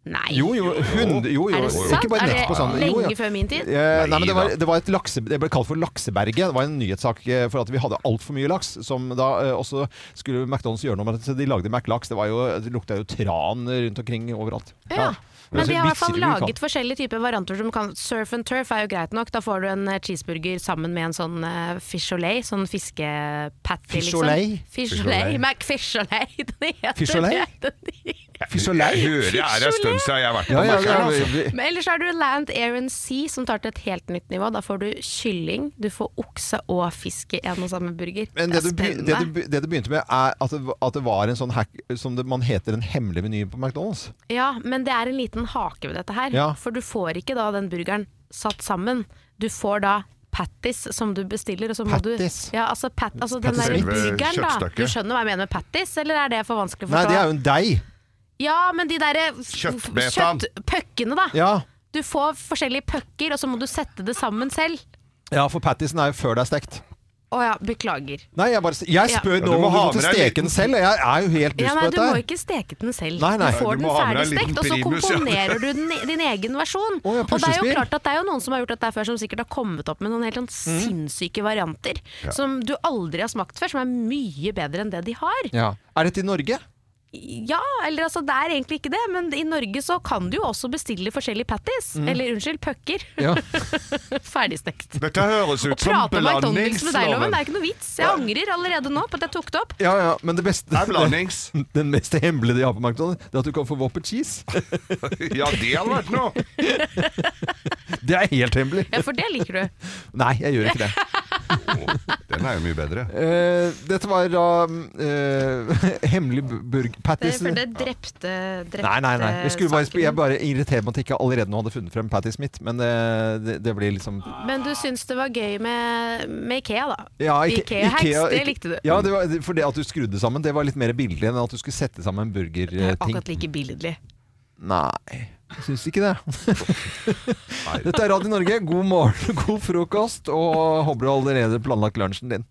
Speaker 3: Nei.
Speaker 1: Jo, jo. Hund, jo, jo.
Speaker 3: er det sant?
Speaker 1: Ikke bare nett på sånn.
Speaker 3: Er det
Speaker 1: Jo,
Speaker 3: lenge
Speaker 1: ja.
Speaker 3: før min tid?
Speaker 1: Eh, nei, men det, var,
Speaker 2: Neida.
Speaker 1: det, var et lakse, det ble kalt for lakseberget. Det var en nyhetssak eh, for at vi hadde altfor mye laks. Som da eh, også skulle McDonald's gjøre noe med det, så de lagde McLaks. Det, var jo, det lukta jo tran rundt omkring overalt.
Speaker 3: Ja. Men
Speaker 1: Altså,
Speaker 3: de har i hvert fall
Speaker 1: visser du
Speaker 3: laget forskjellige typer varianter som kan Surf and turf er jo greit nok. Da får du en eh, cheeseburger sammen med en sånn uh, fisholay, sånn fiskepatty,
Speaker 1: Fisholay?
Speaker 3: liksom. Fisholay? Mac-fisholay, den heter
Speaker 1: Fisholay?
Speaker 3: det. Den-
Speaker 1: Fy så lei!
Speaker 2: Jeg hører det er en stund siden jeg har vært på
Speaker 1: Ja, ja, ja,
Speaker 2: Mac-eren.
Speaker 1: vi,
Speaker 2: altså.
Speaker 1: vi,
Speaker 3: Men ellers har du Land, Air and Sea, som tar til et helt nytt nivå. Da får du kylling, du får okse og fisk i en og samme burger.
Speaker 1: men det
Speaker 3: Det
Speaker 1: du,
Speaker 3: er
Speaker 1: be- det, du,
Speaker 3: spennende.
Speaker 1: be- det du begynte med, er at det, at det var en sånn hack som det, man heter en hemmelig meny på McDonald's.
Speaker 3: Ja, men det er en liten hake ved dette her.
Speaker 1: Ja.
Speaker 3: For du får ikke da den burgeren satt sammen. Du får da patties som du bestiller. Og så må
Speaker 1: Patties?
Speaker 3: Du, ja, altså, pat, altså den
Speaker 1: Patties
Speaker 3: der
Speaker 1: mitt?
Speaker 3: burgeren, da.
Speaker 2: Kjøttstykket.
Speaker 3: Du skjønner hva jeg mener med patties, eller er det for vanskelig å
Speaker 1: Nei,
Speaker 3: forstå?
Speaker 1: det er jo en deig.
Speaker 3: Ja, men de derre
Speaker 2: Kjøttbetaen.
Speaker 3: Kjøttpøkkene, da.
Speaker 1: Ja.
Speaker 3: Du får forskjellige pøkker, og så må du sette det sammen selv.
Speaker 1: ja, for pattisen er jo før det er stekt.
Speaker 3: Å ja, beklager.
Speaker 1: Nei, jeg, bare, s- jeg
Speaker 3: Ja.
Speaker 1: spør
Speaker 2: Ja, du
Speaker 1: nå om
Speaker 2: må
Speaker 1: du
Speaker 2: ha
Speaker 1: måtte
Speaker 2: med deg litt-
Speaker 1: steke den selv. og Jeg er jo helt
Speaker 3: Ja,
Speaker 1: dust på
Speaker 3: nei, du
Speaker 1: dette.
Speaker 3: må
Speaker 1: her.
Speaker 3: ikke steke den selv.
Speaker 1: Nei, nei.
Speaker 3: Du
Speaker 2: Nei,
Speaker 3: får
Speaker 2: du
Speaker 3: den
Speaker 2: må ha med deg en
Speaker 3: ferdigstekt,
Speaker 2: liten
Speaker 3: og så
Speaker 2: primus, ja.
Speaker 3: komponerer du den, i- din egen versjon.
Speaker 1: Å, ja,
Speaker 3: og det er jo
Speaker 1: puslespill.
Speaker 3: klart at det er jo noen som har gjort dette her før, som sikkert har kommet opp med noen helt sånn
Speaker 1: Mm.
Speaker 3: sinnssyke varianter. Som du aldri har smakt før, som er mye bedre enn det de har.
Speaker 1: Ja. Er dette i Norge?
Speaker 3: Ja, eller altså det er egentlig ikke det, men i Norge så kan du jo også bestille forskjellige patties.
Speaker 1: Mm.
Speaker 3: Eller unnskyld, pucker.
Speaker 1: Ja.
Speaker 3: Ferdigstekt.
Speaker 2: Dette høres
Speaker 3: Å
Speaker 2: ut som
Speaker 3: prate om McDonald's med deg, Loven, det
Speaker 2: blandingsloven.
Speaker 3: er ikke noe vits. Jeg angrer allerede nå på at jeg tok det opp.
Speaker 1: Ja, ja, men det beste
Speaker 2: Det er blandings.
Speaker 1: Den mest hemmelige de har på McDonald's, det er at du kan få Whopper cheese.
Speaker 2: Ja, det hadde vært noe.
Speaker 1: Det er helt hemmelig.
Speaker 3: Ja, for det liker du.
Speaker 1: Nei, jeg gjør ikke det.
Speaker 2: Å, Den er jo mye bedre.
Speaker 1: Eh, dette var da eh, hemmelig burg...
Speaker 3: Det,
Speaker 1: Patties
Speaker 3: for det drepte, drepte
Speaker 1: Nei, nei, nei. Jeg, skulle bare,
Speaker 3: saken.
Speaker 1: jeg bare irriterer meg at jeg ikke allerede nå hadde funnet frem Patty Smith, men det, det, det blir liksom
Speaker 3: Men du syns det var gøy med, med Ikea, da?
Speaker 1: Ja, ikke-
Speaker 3: Ikea-hacks,
Speaker 1: Ikea-
Speaker 3: det
Speaker 1: ikke-
Speaker 3: likte du.
Speaker 1: Ja, det var, for det at du skrudde sammen, det var litt mer billig enn at du skulle sette sammen en
Speaker 3: Det er
Speaker 1: burgerting.
Speaker 3: Akkurat like billedlig.
Speaker 1: Nei, jeg syns ikke det. Dette er Radio Norge. God morgen, god frokost, og håper du allerede har planlagt lunsjen din.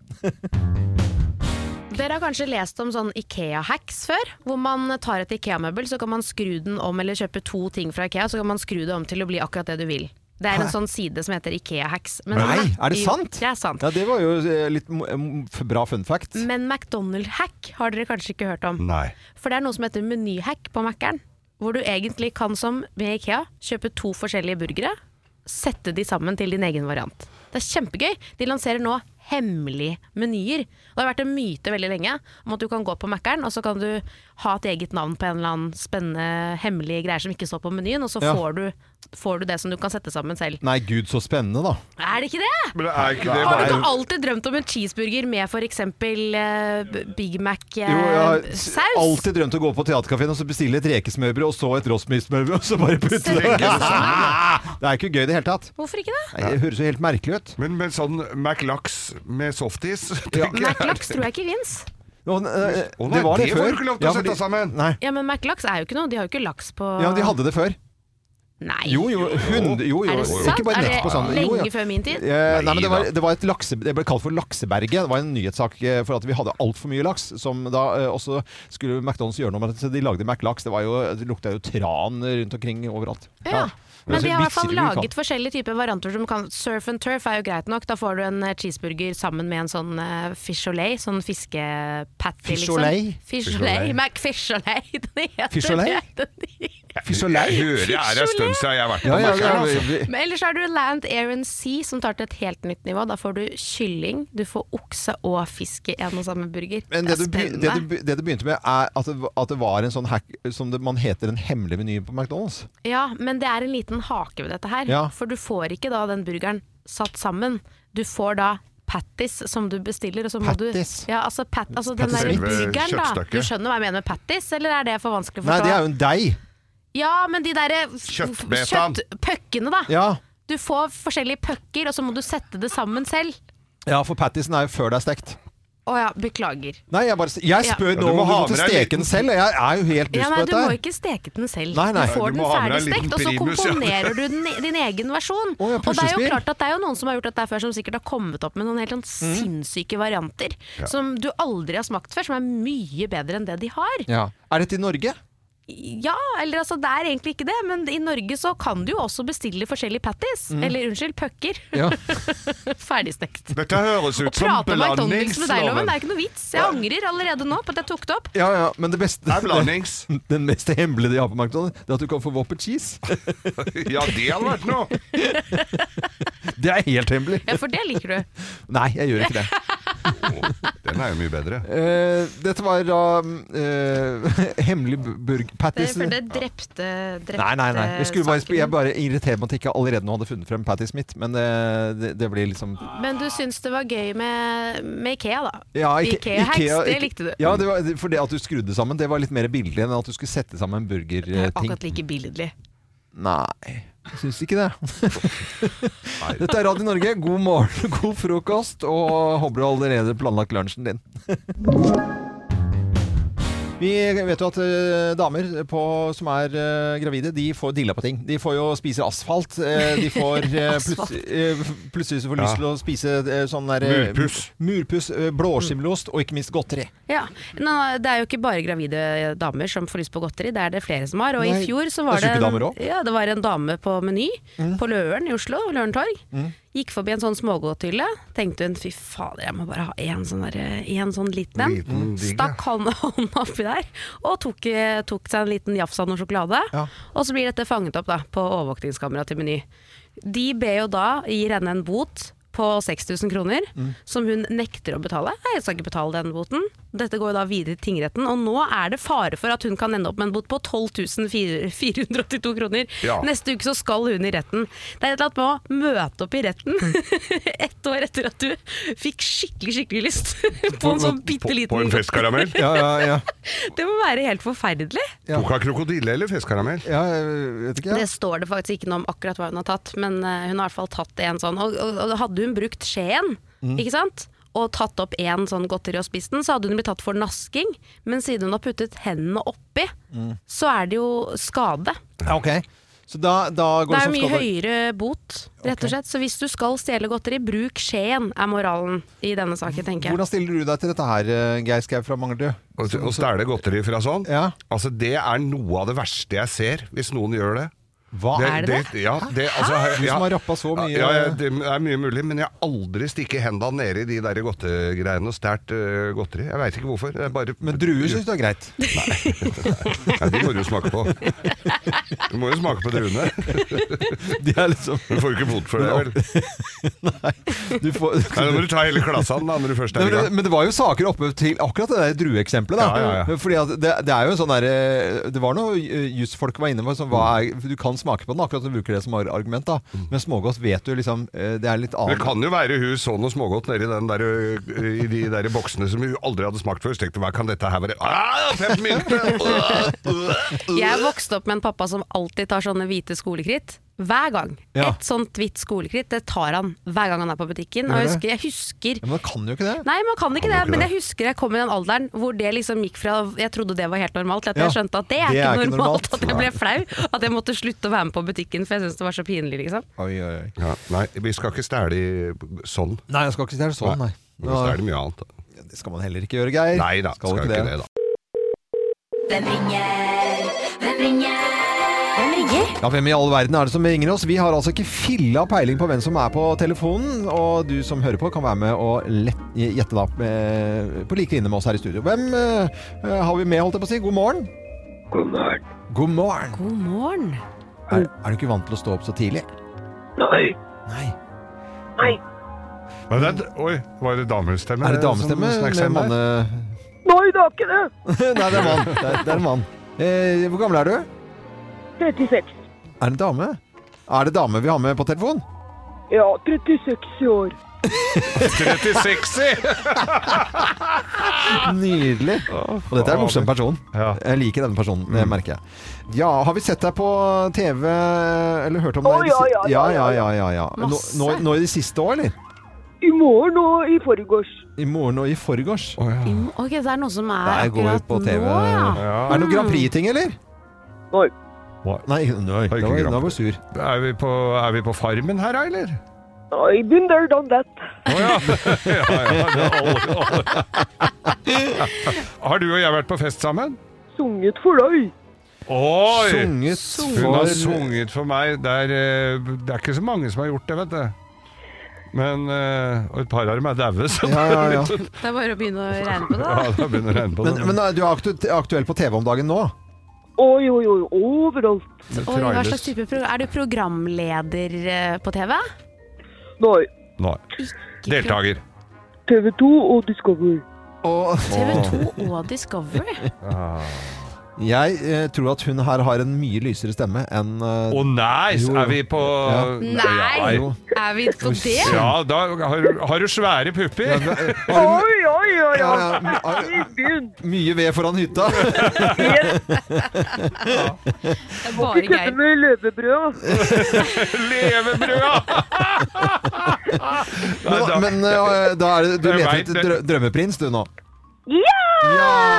Speaker 3: Dere har kanskje lest om sånn Ikea-hacks før? Hvor man tar et Ikea-møbel, så kan man skru den om, eller kjøpe to ting fra Ikea, så kan man skru det om til å bli akkurat det du vil. Det er en sånn side som heter Ikea-hacks. Men-
Speaker 1: Nei, er det
Speaker 3: Jo,
Speaker 1: sant?
Speaker 3: Det er sant. Mm.
Speaker 1: Ja, det var jo eh, litt mo- em, f- bra fun fact.
Speaker 3: Men McDonald-hack har dere kanskje ikke hørt om?
Speaker 2: Nei.
Speaker 3: For det er noe som heter menyhack på Mac-eren. Hvor du egentlig kan, som med Ikea, kjøpe to forskjellige burgere. Sette de sammen til din egen variant. Det er kjempegøy. De lanserer nå hemmelige menyer. Det har vært en myte veldig lenge om at du kan gå på Mac-eren, og så kan du ha et eget navn på en eller annen spennende, hemmelige greier som ikke står på menyen, og så
Speaker 1: Ja.
Speaker 3: får, du, får du det som du kan sette sammen selv.
Speaker 1: Nei, gud, så spennende, da.
Speaker 3: Er det ikke det?
Speaker 2: Men er ikke det
Speaker 3: Har du
Speaker 2: bare
Speaker 3: ikke alltid drømt om en cheeseburger med f.eks. Uh, Big eh,
Speaker 1: Jo, jeg har
Speaker 3: Mac-saus?
Speaker 1: s- alltid drømt å gå på teaterkafeen og så bestille et rekesmørbrød, og så et rosmismørbrød, og så bare putte det
Speaker 3: Tenker du
Speaker 1: Det er ikke gøy i det hele tatt.
Speaker 3: Hvorfor ikke det?
Speaker 1: Nei, Det høres jo helt merkelig ut.
Speaker 2: Men med sånn McLax med softis tenker jeg.
Speaker 3: Mac-laks tror jeg ikke fins.
Speaker 1: Og, eh,
Speaker 2: Å nei, det får du ikke lov til å
Speaker 1: fordi-
Speaker 2: sette sammen.
Speaker 1: Nei.
Speaker 3: Ja, men McLaks er jo ikke noe. De har jo ikke laks på
Speaker 1: Ja, de hadde det før.
Speaker 3: Nei.
Speaker 1: Jo, jo, hund, jo, jo.
Speaker 3: Er det sant?
Speaker 1: Ikke bare
Speaker 3: er
Speaker 1: nett på sanden.
Speaker 3: det
Speaker 1: Jo, ja.
Speaker 3: lenge før min tid?
Speaker 1: Eh, nei,
Speaker 2: Nei
Speaker 1: men det, var,
Speaker 2: da.
Speaker 1: det, var et lakse, det ble kalt for lakseberget. Det var en nyhetssak eh, for at vi hadde altfor mye laks. Som da eh, også skulle McDonald's gjøre noe med det, så de lagde McLaks. Det, var jo, det lukta jo tran rundt omkring overalt.
Speaker 3: Ja. Men
Speaker 1: Så
Speaker 3: de har i hvert fall
Speaker 1: vitser vi kan.
Speaker 3: laget forskjellige typer varianter som kan Surf and turf er jo greit nok. Da får du en eh, cheeseburger sammen med en sånn uh, fisholay, sånn fiskepatty,
Speaker 1: Fish-o-lay?
Speaker 3: liksom. Fisholay? McFisholay, den heter
Speaker 1: Fish-o-lay?
Speaker 3: det. Den heter-
Speaker 1: Fy, så lei!
Speaker 2: Jeg hører jeg er en stund siden jeg har vært på
Speaker 1: Ja, ja, ja,
Speaker 2: Mackeren, altså.
Speaker 1: vi- vi-
Speaker 3: Men ellers har du Land, Air and Sea, som tar til et helt nytt nivå. Da får du kylling, du får okse og fisk i en og samme burger.
Speaker 1: Men det,
Speaker 3: det er
Speaker 1: du, be-
Speaker 3: spennende.
Speaker 1: det, du, be- det du begynte med, er at det, v- at det var en sånn hack som det, man heter en hemmelig meny på McDonald's.
Speaker 3: Ja, men det er en liten hake ved dette her.
Speaker 1: Ja.
Speaker 3: For du får ikke da den burgeren satt sammen. Du får da patties som du bestiller. Og så må
Speaker 1: Patties?
Speaker 3: Du, ja, altså, pat, altså den
Speaker 1: Patties
Speaker 3: der
Speaker 1: er
Speaker 2: selve
Speaker 3: burgeren, da.
Speaker 2: kjøttstykket.
Speaker 3: Du skjønner hva jeg mener med patties, eller er det for vanskelig å
Speaker 1: Nei,
Speaker 3: forstå?
Speaker 1: det er jo en deig.
Speaker 3: Ja, men de derre
Speaker 2: Kjøttbetaen.
Speaker 3: Kjøttpøkkene, da.
Speaker 1: Ja.
Speaker 3: Du får forskjellige pøkker, og så må du sette det sammen selv.
Speaker 1: ja, for pattisen er jo før det er stekt.
Speaker 3: Å ja, beklager.
Speaker 1: Nei, jeg, bare, jeg
Speaker 3: Ja.
Speaker 1: spør
Speaker 2: Ja, du
Speaker 1: nå
Speaker 2: må
Speaker 1: om du
Speaker 2: ha
Speaker 1: måtte
Speaker 2: med deg en
Speaker 1: steke den selv. Jeg er jo helt dust
Speaker 3: Ja, nei,
Speaker 1: på
Speaker 3: du
Speaker 1: dette.
Speaker 3: må
Speaker 1: her.
Speaker 3: ikke steke den selv.
Speaker 1: Nei, nei.
Speaker 3: Du får
Speaker 2: Du
Speaker 3: den
Speaker 2: må ha med deg en
Speaker 3: ferdigstekt,
Speaker 2: liten
Speaker 3: og så
Speaker 2: primus, ja.
Speaker 3: komponerer du den, din egen
Speaker 1: Å,
Speaker 3: versjon.
Speaker 1: ja,
Speaker 3: og det er jo
Speaker 1: puslespill. Mm.
Speaker 3: klart at det er jo noen som har gjort dette før, som sikkert har kommet opp med noen helt sånn sinnssyke varianter. Som du aldri har smakt før, som er mye bedre enn det de har.
Speaker 1: Ja. Er dette i Norge?
Speaker 3: Ja, eller altså det er egentlig ikke det, men i Norge så kan du jo også bestille forskjellige patties. Eller unnskyld, pucker.
Speaker 1: Mm. Ja.
Speaker 3: Ferdigstekt.
Speaker 2: Dette høres
Speaker 3: Å
Speaker 2: ut som
Speaker 3: prate om McDonald's med deg, Loven, det
Speaker 2: belandingsloven.
Speaker 3: er ikke noe vits. Jeg angrer allerede nå på at jeg tok det opp.
Speaker 1: ja, ja, men det beste
Speaker 2: Det er blandings.
Speaker 1: Den mest hemmelige de har på McDonald's, det er at du kan få Whopper cheese.
Speaker 2: Ja, det hadde vært noe!
Speaker 1: Det er helt hemmelig.
Speaker 3: Ja, for det liker du.
Speaker 1: Nei, jeg gjør ikke det.
Speaker 2: Å, Den er jo mye bedre.
Speaker 1: Eh, dette var da eh, hemmelig
Speaker 3: Det,
Speaker 1: burg-pattisen.
Speaker 3: for det drepte, drepte
Speaker 1: Nei, nei, nei. Jeg, skulle bare,
Speaker 3: saken.
Speaker 1: jeg bare irriterer meg at jeg ikke allerede nå hadde funnet frem Patty Smith, men det, det, det blir liksom
Speaker 3: Men du syns det var gøy med, med Ikea, da.
Speaker 1: ja,
Speaker 3: Ikea-hacks, det
Speaker 1: ikke-
Speaker 3: likte du.
Speaker 1: Ja, det var, for det at du skrudde sammen, det var litt mer billig enn at du skulle sette sammen en eh,
Speaker 3: Det er
Speaker 1: burgerting.
Speaker 3: akkurat like billedlig.
Speaker 1: Nei, jeg syns ikke det. Dette er Radio Norge. God morgen, god frokost, og håper du allerede planlagt lunsjen din. Vi vet jo at eh, damer på, som er eh, gravide, de får dilla på ting. De får jo spise asfalt. eh, de får eh,
Speaker 3: Asfalt.
Speaker 1: plut- eh, plutselig så får de lyst
Speaker 2: Ja.
Speaker 1: til å spise eh, sånn der eh,
Speaker 2: Murpuss.
Speaker 1: murpuss, eh, blåskimmelost og ikke minst godteri.
Speaker 3: Ja. Nå, det er jo ikke bare gravide damer som får lyst på godteri, det er det flere som har. Og
Speaker 1: Nei,
Speaker 3: i fjor så
Speaker 1: det
Speaker 3: var
Speaker 1: er
Speaker 3: det,
Speaker 1: syke damer
Speaker 3: en,
Speaker 1: også.
Speaker 3: ja, det var en dame på Meny på Løren i Oslo, Løren torg. Gikk forbi en sånn smågodthylle. Tenkte hun fy fader, jeg må bare ha én sånn, der, en sånn liten en.
Speaker 2: Liten digg, ja.
Speaker 3: Stakk hånda hånda oppi der og tok, eh, tok seg en liten jafs av noe sjokolade.
Speaker 1: Ja.
Speaker 3: Og så blir dette fanget opp da, på overvåkningskameraet til Meny. De ber jo da, gir henne en bot på 6000 kroner,
Speaker 2: Mm.
Speaker 3: som hun nekter å betale. Nei, jeg skal ikke betale den boten. Dette går jo da videre til tingretten, og nå er det fare for at hun kan ende opp med en bot på 12 482 kroner.
Speaker 2: Ja.
Speaker 3: Neste uke så skal hun i retten. Det er et eller annet med å møte opp i retten ett år etter at du fikk skikkelig, skikkelig lyst på en sånn bitte
Speaker 2: På- På
Speaker 3: liten
Speaker 2: en festkaramell?
Speaker 1: Ja, ja, ja.
Speaker 3: Det må være helt forferdelig.
Speaker 1: Ja.
Speaker 2: Tok hun krokodille eller festkaramell?
Speaker 1: ja jeg vet ikke.
Speaker 3: Det
Speaker 1: jeg.
Speaker 3: står det faktisk ikke noe om akkurat hva hun har tatt, men eh, hun har i hvert fall tatt en sånn. Og, og, og hadde hun brukt skjeen,
Speaker 1: Mm.
Speaker 3: ikke sant? Og tatt opp én sånn godteri og spist den, så hadde hun blitt tatt for nasking. Men siden hun har puttet hendene oppi,
Speaker 1: Mm.
Speaker 3: så er det jo skade.
Speaker 1: Ja, ok. Så da, da går
Speaker 3: Det
Speaker 1: det
Speaker 3: er jo
Speaker 1: som
Speaker 3: mye
Speaker 1: skal-
Speaker 3: høyere bot, rett
Speaker 1: Ok.
Speaker 3: og slett. Så hvis du skal stjele godteri, bruk skjeen, er moralen i denne saken, tenker jeg.
Speaker 1: Hvordan stiller du deg til dette her, eh, Geir Skau fra Manglerud?
Speaker 2: Å å stjele godteri fra sånn?
Speaker 1: Ja.
Speaker 2: Altså, det er noe av det verste jeg ser, hvis noen gjør det.
Speaker 1: Hva
Speaker 3: er det det?
Speaker 2: Ja, det, altså,
Speaker 1: Du
Speaker 2: ja,
Speaker 1: som har rappa så mye
Speaker 2: ja, ja, det er mye mulig, men jeg har aldri stikket henda nede i de der godtegreiene og stjålet øh, godteri. Jeg veit ikke hvorfor. Jeg bare,
Speaker 1: Men druer syns du er greit.
Speaker 2: Ja, de må du smake på. Du må jo smake på druene.
Speaker 1: De er liksom
Speaker 2: Du får jo ikke bot for det, vel.
Speaker 1: du får,
Speaker 2: Nei, Da må du ta hele klassen da, når du først
Speaker 1: Nei,
Speaker 2: er i
Speaker 1: men, det,
Speaker 2: gang.
Speaker 1: men det var jo saker oppe til akkurat det der drueeksempelet. da.
Speaker 2: Ja, ja, ja.
Speaker 1: Fordi at det, det er jo en sånn der, eh, Det var noe eh, jusfolk var inne på. Som, hva er, du kan smake på den, akkurat som du bruker det som ar- argument. da. Men smågodt vet du liksom eh, Det er litt
Speaker 2: Det
Speaker 1: annet.
Speaker 2: kan jo være hun så noe smågodt nedi den der, øh, i de der boksene som hun aldri hadde smakt før. Så tenkte hun, hva kan dette her være? Ah, fem minutter!
Speaker 3: Jeg vokste opp med en pappa som alltid tar sånne hvite skolekritt. hver gang.
Speaker 1: Ja.
Speaker 3: Et sånt hvitt skolekritt, det tar han hver gang han er på butikken. Og
Speaker 1: Gjør
Speaker 3: jeg
Speaker 1: det?
Speaker 3: husker, jeg husker
Speaker 1: Ja, men man kan jo ikke det.
Speaker 3: Nei, man kan ikke
Speaker 5: Kan
Speaker 3: det,
Speaker 5: man ikke
Speaker 3: men
Speaker 5: det?
Speaker 3: jeg husker jeg kom i den alderen hvor det liksom gikk fra Jeg trodde det var helt normalt, til at jeg
Speaker 1: Ja,
Speaker 3: skjønte at det er,
Speaker 1: det
Speaker 3: ikke,
Speaker 1: er ikke
Speaker 3: normalt,
Speaker 1: normalt.
Speaker 3: At jeg ble flau. At jeg måtte slutte å være med på butikken, for jeg syntes det var så pinlig, liksom.
Speaker 1: Oi, oi, oi.
Speaker 5: Ja, nei, vi skal ikke stjele i- sånn.
Speaker 1: Nei, jeg skal ikke stjele sånn, nei.
Speaker 5: Vi må stjele mye annet. da.
Speaker 1: Ja, det skal man heller ikke gjøre, Geir.
Speaker 5: Nei da, skal,
Speaker 1: du
Speaker 5: ikke det, da.
Speaker 4: Hvem ringer? Hvem ringer? Hvem ringer?
Speaker 1: Ja, Hvem i all verden er det som ringer oss? Vi har altså ikke filla peiling på hvem som er på telefonen. Og du som hører på, kan være med og lett, gjette da eh, på like linje med oss her i studio. Hvem eh, har vi med, holdt jeg på å si? God morgen.
Speaker 6: God morgen.
Speaker 1: God morgen.
Speaker 3: God morgen.
Speaker 1: Er, er du ikke vant til å stå opp så tidlig?
Speaker 6: Nei.
Speaker 1: Nei.
Speaker 5: Men det, er- oi, var det damestemme?
Speaker 1: Er det damestemme
Speaker 5: som snek seg
Speaker 1: med
Speaker 5: inn der?
Speaker 1: manne...
Speaker 6: Nei, det er ikke det!
Speaker 1: Nei, det er mann. Det er, det er en mann. Eh, hvor gammel er du?
Speaker 6: 36.
Speaker 1: Er det en dame? Er det dame vi har med på telefon?
Speaker 6: Ja, 36 i år.
Speaker 5: 36!
Speaker 1: Nydelig. Og dette er en morsom person.
Speaker 5: Ja. Mm.
Speaker 1: Jeg liker denne personen, det merker jeg. Ja, har vi sett deg på TV eller hørt om
Speaker 6: Å,
Speaker 1: deg? i det
Speaker 6: ja,
Speaker 1: si-
Speaker 6: ja,
Speaker 1: ja,
Speaker 6: ja,
Speaker 1: ja, ja, ja, ja. Nå,
Speaker 3: Masse.
Speaker 1: nå, nå i det siste år, eller?
Speaker 6: I morgen og i forgårs.
Speaker 1: I morgen og i forgårs.
Speaker 5: Å, ja.
Speaker 3: Mm, Ok, det er noe som er
Speaker 1: Der går vi
Speaker 3: akkurat
Speaker 1: på TV.
Speaker 3: nå, ja.
Speaker 1: Er det noe Grand Prix-ting, eller?
Speaker 6: Nei.
Speaker 1: Nei, nei,
Speaker 5: ikke
Speaker 1: da var-
Speaker 5: Grand
Speaker 1: da var
Speaker 5: Prix.
Speaker 1: du sur.
Speaker 5: Er, vi på, er vi på Farmen her, da, eller?
Speaker 6: Nei, been there, done that.
Speaker 5: Å ja. ja, ja det er alle, alle. Har du og jeg vært på fest sammen?
Speaker 6: Sunget for deg.
Speaker 5: Oi!
Speaker 1: Sunget
Speaker 5: Hun har
Speaker 1: for
Speaker 5: sunget for meg. Det er, eh, det er ikke så mange som har gjort det, vet du. Men, eh, og et par av dem er daue, så
Speaker 1: Ja, ja, ja.
Speaker 3: Det er bare å begynne å regne på det.
Speaker 5: ja,
Speaker 3: da.
Speaker 5: da begynner det å regne på sånn
Speaker 1: Men,
Speaker 5: det.
Speaker 1: men eh, du er aktu- aktuell på TV om dagen nå?
Speaker 6: Oi, oi, oi, overalt.
Speaker 5: Det
Speaker 3: Oi, hva
Speaker 5: trailes.
Speaker 3: slags type pro er du programleder eh, på TV?
Speaker 6: Nei.
Speaker 5: Nei. Deltaker.
Speaker 6: TV 2 og Discovery.
Speaker 1: Og
Speaker 3: TV 2 og Discovery.
Speaker 1: Ah. jeg eh, tror at hun her har en mye lysere stemme enn eh,
Speaker 5: Å nei,
Speaker 1: Jo, jo.
Speaker 5: er vi på
Speaker 3: Nei!
Speaker 5: Ja,
Speaker 3: Er vi på det?
Speaker 5: Ja, da har, du- har du svære pupper.
Speaker 6: Oi, oi, oi,
Speaker 1: ja,
Speaker 6: oi.
Speaker 1: ja, my- ah,
Speaker 6: I byen.
Speaker 1: Mye ved foran hytta.
Speaker 6: Yes,
Speaker 3: Det
Speaker 6: vi
Speaker 3: er bare
Speaker 6: kødder
Speaker 3: Geir.
Speaker 6: med løvebrød.
Speaker 5: Levebrød!
Speaker 1: Men,
Speaker 5: da-
Speaker 1: men eh, da er det, du
Speaker 5: Jeg
Speaker 1: leter
Speaker 5: vet
Speaker 1: etter
Speaker 5: det.
Speaker 1: drø drømmeprins, du nå?
Speaker 6: Ja!
Speaker 1: Ja!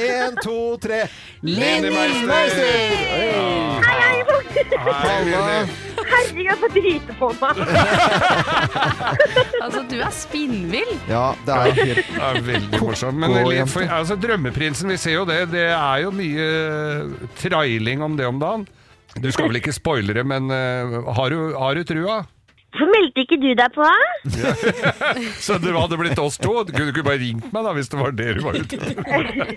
Speaker 1: Én, to, tre.
Speaker 5: Lenny Meister!
Speaker 6: Hei, hei, folk.
Speaker 5: Hei,
Speaker 1: Halla.
Speaker 5: Lenny.
Speaker 6: Herregud, jeg får drite på meg.
Speaker 3: Altså, du er spinnvill.
Speaker 1: Ja, det er helt
Speaker 5: Det er veldig morsomt. Men
Speaker 1: Gå,
Speaker 5: litt
Speaker 1: jente.
Speaker 5: for, altså, Drømmeprinsen, vi ser jo det. Det er jo mye eh, trailing om det om dagen. Du skal vel ikke spoile det, men eh, har, du, har du trua?
Speaker 7: Hvorfor meldte ikke du deg på?
Speaker 5: Så det hadde blitt oss to. Du kunne ikke bare ringt meg da, hvis det var det du var ute etter.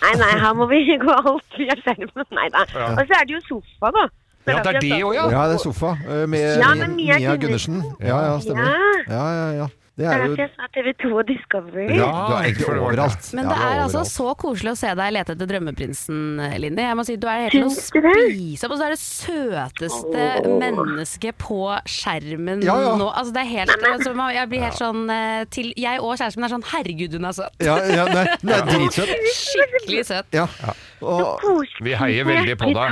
Speaker 7: Nei, nei, her må vi gå alt via skjermen. Nei da. Og så er det jo sofa, da. Så
Speaker 5: Ja,
Speaker 7: da
Speaker 5: det er
Speaker 7: blir
Speaker 5: det òg, ja.
Speaker 1: Ja, det er sofa eh, med
Speaker 7: Ja, men Mia
Speaker 1: Mia Gundersen.
Speaker 7: Gundersen.
Speaker 1: Ja, ja, stemmer.
Speaker 7: Ja.
Speaker 1: Ja, ja, ja. Det
Speaker 7: Det
Speaker 1: er
Speaker 7: er
Speaker 1: jo
Speaker 7: derfor jeg sa TV 2 og Discovery.
Speaker 1: Ja,
Speaker 7: Ja.
Speaker 1: du er egentlig
Speaker 5: for det var det.
Speaker 1: overalt.
Speaker 3: Men
Speaker 1: Ja,
Speaker 3: det
Speaker 1: du
Speaker 3: er altså
Speaker 1: overalt.
Speaker 3: så koselig å se deg lete etter drømmeprinsen, Linni. Jeg må si, Du er helt til å
Speaker 7: Syns du det?
Speaker 3: spise opp, og så er det søteste mennesket på skjermen
Speaker 1: Ja, ja.
Speaker 3: nå. Altså, det er helt, altså, man- jeg blir helt sånn eh, til, Jeg og kjæresten min er sånn Herregud, hun er søt.
Speaker 1: ja, ja, nei, Hun er dritsøt.
Speaker 3: Skikkelig søt.
Speaker 1: Ja. Og,
Speaker 7: Koselig.
Speaker 5: Vi heier veldig på deg.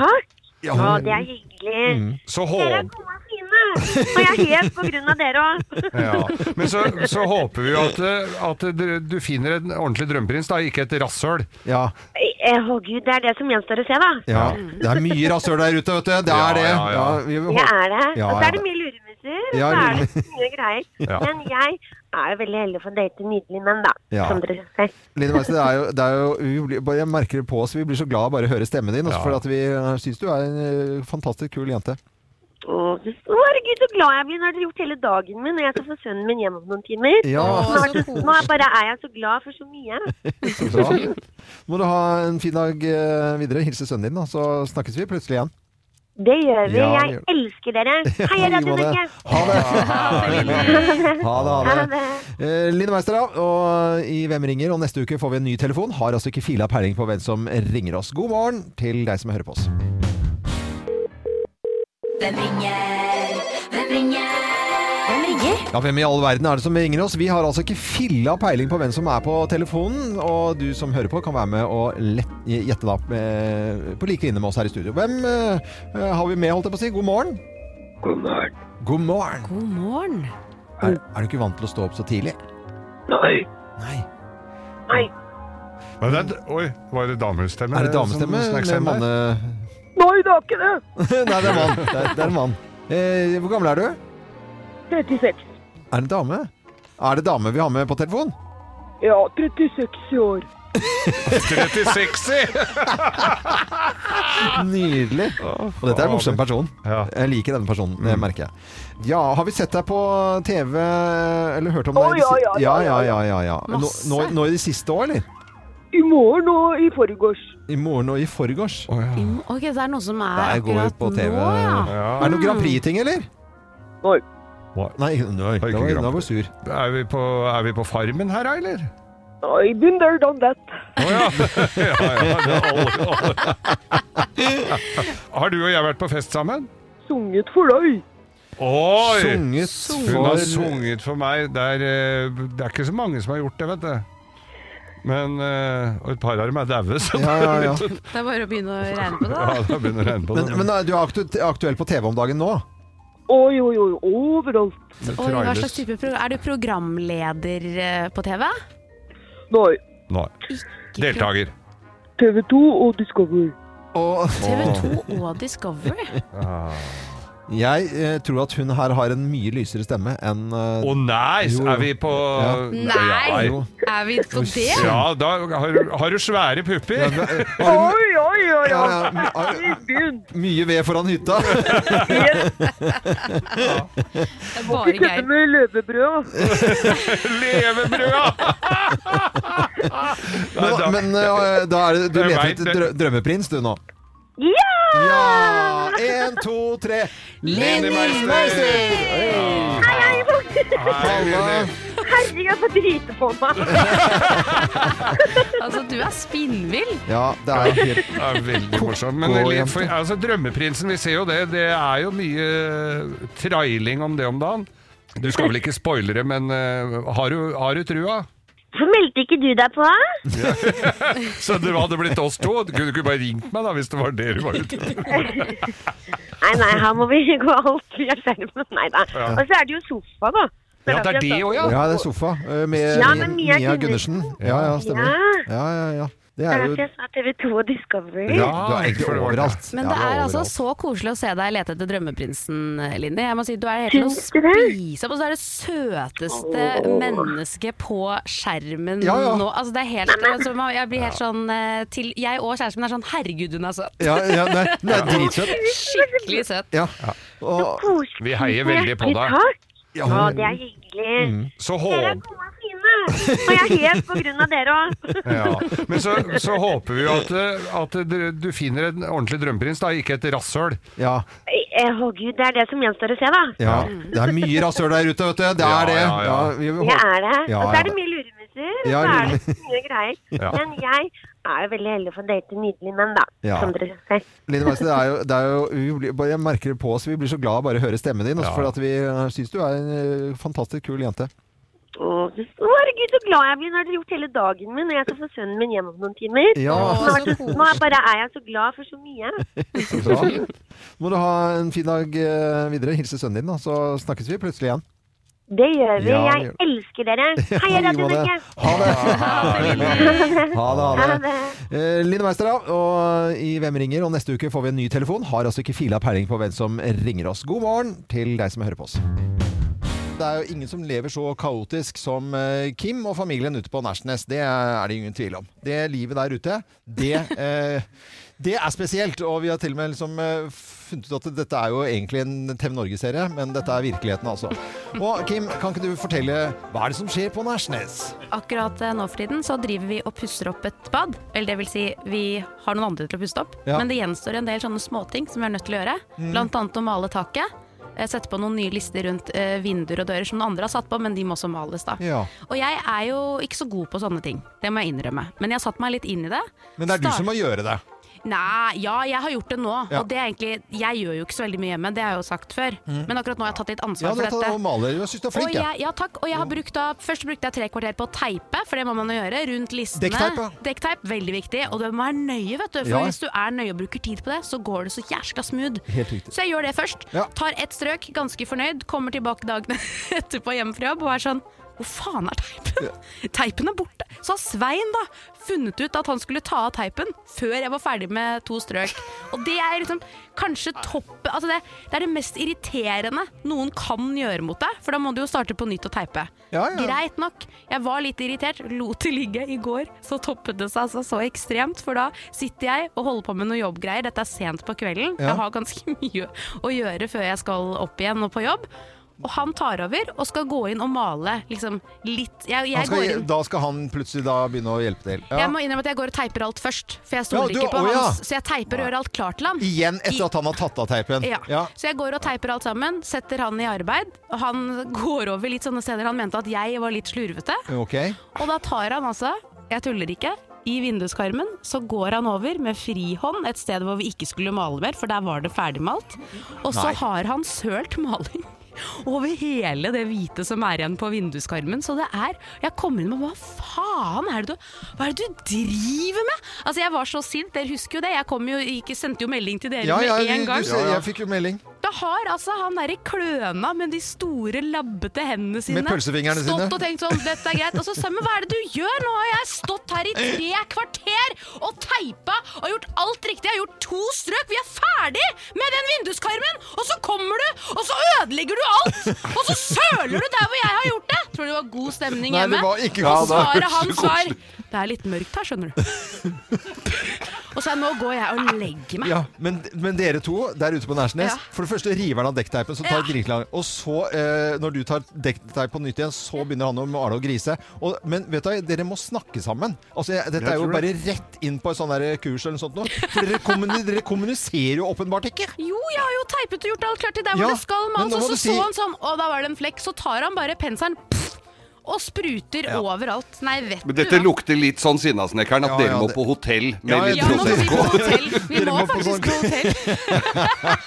Speaker 1: ja,
Speaker 7: Å,
Speaker 1: hun- Mm.
Speaker 7: det er hyggelig.
Speaker 5: Så
Speaker 7: Dere
Speaker 5: håper
Speaker 7: er gode og fine. Og jeg er helt på grunn av dere òg.
Speaker 5: Ja. Men så, så håper vi jo at, eh, at du- du finner en ordentlig drømmeprins, da, ikke et rasshøl.
Speaker 1: ja,
Speaker 7: Eh, Å gud, det er det som gjenstår å se, da.
Speaker 1: ja. Det er mye rasshøl der ute, vet du. Det
Speaker 5: Ja,
Speaker 1: er det.
Speaker 5: ja,
Speaker 1: Ja,
Speaker 5: ja.
Speaker 1: vi
Speaker 7: Det
Speaker 1: håper-
Speaker 7: er det.
Speaker 1: Ja,
Speaker 7: Og så
Speaker 1: ja,
Speaker 7: er det
Speaker 1: det-
Speaker 7: mye luremusser, og
Speaker 1: Ja,
Speaker 7: så er
Speaker 1: lure-
Speaker 7: det mye greier.
Speaker 5: Ja.
Speaker 7: Men jeg er jo veldig heldig for å date nydelige menn, da.
Speaker 1: Ja.
Speaker 7: Som dere ser.
Speaker 1: Line Meister, det er jo, det er jo vi blir, bare- Jeg merker det på oss. Vi blir så glad av bare å høre stemmen din. også,
Speaker 5: Ja.
Speaker 1: For at vi eh, syns du er en eh, fantastisk kul jente.
Speaker 7: Å, herregud, så glad jeg blir når dere har gjort hele dagen min, og jeg skal få sønnen min hjem om noen timer.
Speaker 1: Ja.
Speaker 7: Nå, er det, nå er bare er jeg så glad for så mye.
Speaker 1: Ja. Må du ha en fin dag eh, videre. Hilse sønnen din, da. Så snakkes vi plutselig igjen.
Speaker 7: Det gjør vi.
Speaker 1: Ja, det gjør
Speaker 7: jeg elsker dere. Hei,
Speaker 1: I like
Speaker 7: Radio
Speaker 1: måte.
Speaker 7: Norge.
Speaker 1: Ha det! Ha det, ha
Speaker 7: Ha
Speaker 1: det.
Speaker 7: det.
Speaker 1: Eh, Line Meister, da. Og i Hvem ringer? Og neste uke får vi en ny telefon. Har altså ikke fila peiling på hvem som ringer oss. God morgen til deg som hører på oss.
Speaker 4: Hvem ringer? Hvem ringer? Hvem ringer?
Speaker 1: Ja, Hvem i all verden er det som ringer oss? Vi har altså ikke filla peiling på hvem som er på telefonen. Og du som hører på, kan være med og lett, gjette da eh, på like linje med oss her i studio. Hvem eh, har vi med, holdt jeg på å si? God morgen.
Speaker 8: God morgen.
Speaker 1: God morgen.
Speaker 3: God morgen.
Speaker 1: Er, er du ikke vant til å stå opp så tidlig?
Speaker 8: Nei.
Speaker 1: Nei.
Speaker 5: Men det er, oi, var det damestemme?
Speaker 1: Er det damestemme
Speaker 5: som snek
Speaker 1: eller
Speaker 5: seg inn der?
Speaker 1: manne...
Speaker 9: Nei, det er ikke det!
Speaker 1: Nei, det er mann. Det er, det er en mann. Eh, hvor gammel er du?
Speaker 9: 36.
Speaker 1: Er det dame? Er det dame vi har med på telefon?
Speaker 9: Ja, 36 i år.
Speaker 5: 36!
Speaker 1: Nydelig. Og dette er en morsom person.
Speaker 5: Ja.
Speaker 1: Jeg liker denne personen, det
Speaker 5: Mm.
Speaker 1: merker jeg. Ja, har vi sett deg på TV eller hørt om
Speaker 9: Å,
Speaker 1: deg? i de
Speaker 9: ja,
Speaker 1: si-
Speaker 9: ja,
Speaker 1: ja,
Speaker 9: ja,
Speaker 1: ja, ja, ja, ja. Nå,
Speaker 3: Masse.
Speaker 1: nå, nå i de siste år, eller?
Speaker 9: I morgen og i forgårs.
Speaker 1: I morgen og i forgårs.
Speaker 5: Å, ja.
Speaker 3: Mm, Ok, så det er noe som er
Speaker 1: Der går vi
Speaker 3: akkurat
Speaker 1: på TV.
Speaker 3: nå, ja.
Speaker 1: Er det noe Grand Prix-ting, eller?
Speaker 9: Nei.
Speaker 1: Nei, nei,
Speaker 5: ikke
Speaker 1: nå var-
Speaker 5: Grand
Speaker 1: nå var
Speaker 5: Prix.
Speaker 1: du sur.
Speaker 5: Er, vi på, er vi på Farmen her, da, eller?
Speaker 9: I've been there, done that.
Speaker 5: Å ja. ja, ja det er alle, alle. Har du og jeg vært på fest sammen?
Speaker 9: Sunget for deg.
Speaker 5: Oi!
Speaker 1: Sunget
Speaker 5: Hun har
Speaker 1: for
Speaker 5: sunget for meg. Det er, eh, det er ikke så mange som har gjort det, vet du. Men, eh, og et par av dem er daue, så
Speaker 1: Ja, ja, ja.
Speaker 3: Det er bare å begynne å regne på det.
Speaker 5: Ja, da begynner det å regne på
Speaker 1: Men,
Speaker 5: det.
Speaker 1: men eh, du er aktu- aktuell på TV om dagen nå?
Speaker 9: Oi, oi, oi, overalt.
Speaker 5: Det
Speaker 3: Oi, hva
Speaker 5: trailes.
Speaker 3: slags type pro er du programleder eh, på TV?
Speaker 9: Nei.
Speaker 5: Nei. Deltaker.
Speaker 9: TV 2 og Discovery.
Speaker 1: Og
Speaker 3: TV 2 og Discovery?
Speaker 1: Ah. jeg eh, tror at hun her har en mye lysere stemme enn eh,
Speaker 5: Å nei,
Speaker 1: Jo, jo.
Speaker 5: er vi på
Speaker 1: Ja.
Speaker 3: Nei!
Speaker 1: jo.
Speaker 3: Er vi på det?
Speaker 5: Ja, da har, du- har du svære pupper.
Speaker 1: har
Speaker 9: Oi, oi,
Speaker 1: ja,
Speaker 9: oi, oi.
Speaker 1: ja, my- har-
Speaker 9: Begynn.
Speaker 1: Mye ved foran hytta.
Speaker 9: Yes,
Speaker 3: Det er
Speaker 9: vi
Speaker 3: bare
Speaker 9: kødder
Speaker 3: Geir.
Speaker 9: med løvebrød. altså.
Speaker 5: Levebrød! Nei, da-
Speaker 1: Men, men eh, da er det, du
Speaker 5: Jeg
Speaker 1: leter
Speaker 5: vet
Speaker 1: etter
Speaker 5: det.
Speaker 1: drø drømmeprins, du nå?
Speaker 9: Ja!
Speaker 1: Ja! Én, to, tre.
Speaker 5: Lenny Meister!
Speaker 1: Meister!
Speaker 5: Hei,
Speaker 1: Halla.
Speaker 5: Lenny.
Speaker 9: Herregud, jeg får drite på meg.
Speaker 3: Altså, du er spinnvill.
Speaker 1: Ja, det er helt
Speaker 5: Det er veldig morsomt. Men
Speaker 1: Koko,
Speaker 5: le-
Speaker 1: jente.
Speaker 5: for, altså, Drømmeprinsen, vi ser jo det. Det er jo mye eh, trailing om det om dagen. Du skal vel ikke spoile det, men eh, har, du, har du trua?
Speaker 7: Hvorfor meldte ikke du deg på? da?
Speaker 5: Så det hadde blitt oss to. Du kunne ikke bare ringt meg da, hvis det var det du var ute etter.
Speaker 7: Nei, nei, her må vi gå alt via skjermen. Nei da. Og så er det jo sofa, da. Så
Speaker 5: Ja, det er det òg, ja.
Speaker 1: Ja, det er sofa eh, med
Speaker 7: Ja,
Speaker 1: Mia,
Speaker 7: men Mia
Speaker 1: Gundersen.
Speaker 7: Gundersen.
Speaker 1: Ja, ja, stemmer.
Speaker 7: Ja.
Speaker 1: Ja, ja, ja. Det
Speaker 7: Det
Speaker 1: er
Speaker 7: er
Speaker 1: jo
Speaker 7: derfor jeg sa TV 2 og Discovery.
Speaker 1: ja, Du
Speaker 5: Ja,
Speaker 1: er
Speaker 5: for
Speaker 1: egentlig
Speaker 5: det var det.
Speaker 1: overalt.
Speaker 3: Men
Speaker 1: Ja,
Speaker 3: det
Speaker 1: du
Speaker 3: er altså
Speaker 1: overalt.
Speaker 3: så koselig å se deg lete etter drømmeprinsen, Linni. Jeg må si, du er helt til å
Speaker 7: Syns du det?
Speaker 3: spise opp, og så er det søteste mennesket på skjermen
Speaker 1: Ja, ja.
Speaker 3: nå. Altså, det er helt, altså, man- jeg blir helt sånn eh, til, Jeg og kjæresten min er sånn herregud, hun er søt.
Speaker 1: ja, ja, nei, Hun er dritsøt.
Speaker 3: Skikkelig søt.
Speaker 1: Ja. Og,
Speaker 7: Koselig.
Speaker 5: Vi heier veldig på deg.
Speaker 7: Takk.
Speaker 1: ja,
Speaker 7: Å,
Speaker 1: hun-
Speaker 7: det er hyggelig.
Speaker 5: Så
Speaker 7: Dere
Speaker 5: håp,
Speaker 7: er gode og fine. Og jeg er helt på grunn av dere òg.
Speaker 5: ja. Men så, så håper vi jo at, eh, at du- du finner en ordentlig drømmeprins, da, ikke et rasshøl.
Speaker 1: ja,
Speaker 7: Eh, Å gud, det er det som gjenstår å se, da.
Speaker 1: ja. Det er mye rasshøl der ute, vet du. Det
Speaker 5: Ja,
Speaker 1: er det.
Speaker 5: ja, ja.
Speaker 1: Ja, vi
Speaker 7: Det
Speaker 1: håper-
Speaker 7: er det.
Speaker 1: Ja,
Speaker 7: og så
Speaker 1: ja,
Speaker 7: er det
Speaker 1: det-
Speaker 7: mye luremusser,
Speaker 1: Ja,
Speaker 7: og så er
Speaker 1: lure-
Speaker 7: det mye greier.
Speaker 5: Ja.
Speaker 7: Men jeg er jo veldig heldig for å date nydelige menn, da.
Speaker 1: Ja.
Speaker 7: Som dere ser.
Speaker 1: Line Meister, det er jo, det er jo vi blir, bare- Jeg merker det på oss. Vi blir så glad av bare å høre stemmen din. Også,
Speaker 5: Ja.
Speaker 1: For at vi eh, syns du er en eh, fantastisk kul jente.
Speaker 7: Å, å, herregud, så glad jeg blir når dere har gjort hele dagen min, og jeg skal få sønnen min hjem om noen timer.
Speaker 1: Ja,
Speaker 7: Nå, har vært så- nå bare er jeg så glad for så mye.
Speaker 1: så bra. Må du ha en fin dag eh, videre. Hilse sønnen din, da. Så snakkes vi plutselig igjen.
Speaker 7: Det gjør vi.
Speaker 1: Ja, det
Speaker 7: Jeg
Speaker 1: gjør
Speaker 7: elsker dere. Hei,
Speaker 1: Ja, i
Speaker 7: Radio
Speaker 1: like måte.
Speaker 7: Norge.
Speaker 1: Ha det! Ha det, ha
Speaker 7: Ha
Speaker 1: det.
Speaker 7: det.
Speaker 1: Eh, Line Meister, da. Og i Hvem ringer? Og neste uke får vi en ny telefon. Har altså ikke fila peiling på hvem som ringer oss. God morgen til deg som hører på oss. Det er jo ingen som lever så kaotisk som eh, Kim og familien ute på Nærsnes. Det er det ingen tvil om. Det livet der ute, det, eh, det er spesielt. Og vi har til og med liksom eh, funnet ut at dette er jo egentlig en TV Norge-serie, men dette er virkeligheten, altså. Og Kim, kan ikke du fortelle hva er det som skjer på Nærsnes?
Speaker 3: Akkurat eh, nå for tiden så driver vi og pusser opp et bad. Eller det vil si, vi har noen andre til å puste opp.
Speaker 1: Ja. Mm.
Speaker 3: Men det gjenstår en del sånne småting som vi er nødt til å gjøre. Blant annet å male taket. eh, Sette på noen nye lister rundt eh, vinduer og dører som noen andre har satt på, men de må også males, da.
Speaker 1: Ja.
Speaker 3: Og jeg er jo ikke så god på sånne ting, det må jeg innrømme. Men jeg har satt meg litt inn i det.
Speaker 1: Men det er du som må gjøre det.
Speaker 3: Nei, ja, jeg har gjort det nå.
Speaker 1: Ja.
Speaker 3: Og det er egentlig, jeg gjør jo ikke så veldig mye hjemme, det har jeg jo sagt før. Men akkurat nå har jeg tatt litt
Speaker 1: Mm. Ja, du
Speaker 3: ansvar
Speaker 1: har
Speaker 3: for
Speaker 1: tatt og
Speaker 3: dette.
Speaker 1: maler. Jeg syns du er flink,
Speaker 3: og
Speaker 1: jeg.
Speaker 3: jeg, ja, takk. Og jeg har brukt da, først brukte jeg tre kvarter på å teipe, for det må man jo gjøre, rundt listene.
Speaker 1: Dekkteip, ja.
Speaker 3: Dekkteip, veldig viktig. Og du må være nøye, vet du. For
Speaker 1: Ja.
Speaker 3: hvis du er nøye og bruker tid på det, så går det så jæskla smooth.
Speaker 1: Helt riktig.
Speaker 3: Så jeg gjør det først.
Speaker 1: Ja.
Speaker 3: Tar ett strøk, ganske fornøyd, kommer tilbake dagene etterpå hjemme fra jobb og er sånn hvor faen er teipen? Teipen er borte! Så har Svein da funnet ut at han skulle ta av teipen før jeg var ferdig med to strøk. Og det er liksom kanskje topp altså det, det er det mest irriterende noen kan gjøre mot deg, for da må du jo starte på nytt og teipe.
Speaker 1: Ja, ja.
Speaker 3: Greit nok. Jeg var litt irritert, lot det ligge i går. Så toppet det seg altså så ekstremt, for da sitter jeg og holder på med noen jobbgreier. Dette er sent på kvelden.
Speaker 1: Ja.
Speaker 3: Jeg har ganske mye å gjøre før jeg skal opp igjen og på jobb. Og han tar over og skal gå inn og male liksom litt Jeg,
Speaker 1: Han
Speaker 3: jeg går
Speaker 1: skal,
Speaker 3: inn.
Speaker 1: da skal han plutselig da begynne å hjelpe til. Ja.
Speaker 3: Jeg må innrømme at jeg går og teiper alt først, for jeg
Speaker 1: Ja,
Speaker 3: stoler
Speaker 1: du-
Speaker 3: ikke på
Speaker 1: å, ja.
Speaker 3: hans. Så jeg teiper og gjør alt klart til han.
Speaker 1: Igjen etter at han har tatt av teipen.
Speaker 3: Ja.
Speaker 1: Ja.
Speaker 3: Så jeg går og teiper alt sammen, setter han i arbeid. Og han går over litt sånne steder han mente at jeg var litt slurvete.
Speaker 1: Ok.
Speaker 3: Og da tar han altså, jeg tuller ikke, i vinduskarmen så går han over med frihånd et sted hvor vi ikke skulle male mer, for der var det ferdigmalt. Og så
Speaker 1: Nei.
Speaker 3: har han sølt maling. Over hele det hvite som er igjen på vinduskarmen. Så det er Jeg kommer inn med Hva faen er det du Hva er det du driver med?! Altså, jeg var så sint, dere husker jo det. Jeg kom jo, ikke, sendte jo melding til dere
Speaker 1: Ja, ja,
Speaker 3: med
Speaker 1: vi-
Speaker 3: en
Speaker 1: du
Speaker 3: gang.
Speaker 1: ser, jeg fikk jo melding.
Speaker 3: Da har altså han derre kløna med de store, labbete hendene sine
Speaker 1: pølsefingrene
Speaker 3: stått
Speaker 1: sine.
Speaker 3: og tenkt sånn, dette er greit. Og så Sømme, hva er det du gjør? Nå har jeg stått her i tre kvarter og teipa og gjort alt riktig. Jeg har gjort to strøk. Vi er ferdig med den vinduskarmen! Og så kommer du, og så ødelegger du alt! Og så søler du der hvor jeg har gjort det! Tror du det var god stemning
Speaker 1: Nei,
Speaker 3: hjemme?
Speaker 1: det var ikke
Speaker 3: Og
Speaker 1: god
Speaker 3: svaret hans var Det er litt mørkt her, skjønner du. Og så er nå går jeg og legger meg.
Speaker 1: Ja, men, men dere to der ute på Nærsnes
Speaker 3: Ja.
Speaker 1: For det første river han av dekkteipen, så tar
Speaker 3: Ja.
Speaker 1: det dritlang. Og så, eh, når du tar dekkteip på nytt igjen, så begynner han å male og grise. Og, men vet du, hva, dere må snakke sammen. Altså, jeg, dette
Speaker 2: Jeg
Speaker 1: er jo
Speaker 2: tror
Speaker 1: bare rett inn på et sånn der kurs eller noe sånt noe. For dere, kommuni, dere kommuniserer jo åpenbart ikke.
Speaker 3: Jo, jeg har jo teipet og gjort alt klart til der hvor
Speaker 1: Ja,
Speaker 3: det skal
Speaker 1: men
Speaker 3: males.
Speaker 1: nå
Speaker 3: Og
Speaker 1: må
Speaker 3: så
Speaker 1: du si-
Speaker 3: så han sånn, å da var det en flekk. Så tar han bare penselen pff, og spruter overalt. Nei, vet
Speaker 2: Men
Speaker 3: du
Speaker 2: dette
Speaker 3: hva.
Speaker 2: lukter litt sånn Sinnasnekkeren, at
Speaker 1: Ja,
Speaker 2: dere
Speaker 1: ja,
Speaker 2: må
Speaker 1: det-
Speaker 2: på hotell med
Speaker 1: Ja,
Speaker 2: litt
Speaker 3: Ja, nå må vi på
Speaker 2: prosecco.
Speaker 3: hotell. Vi
Speaker 1: Dere
Speaker 3: må
Speaker 1: må på
Speaker 2: sånn.
Speaker 3: faktisk på hotell.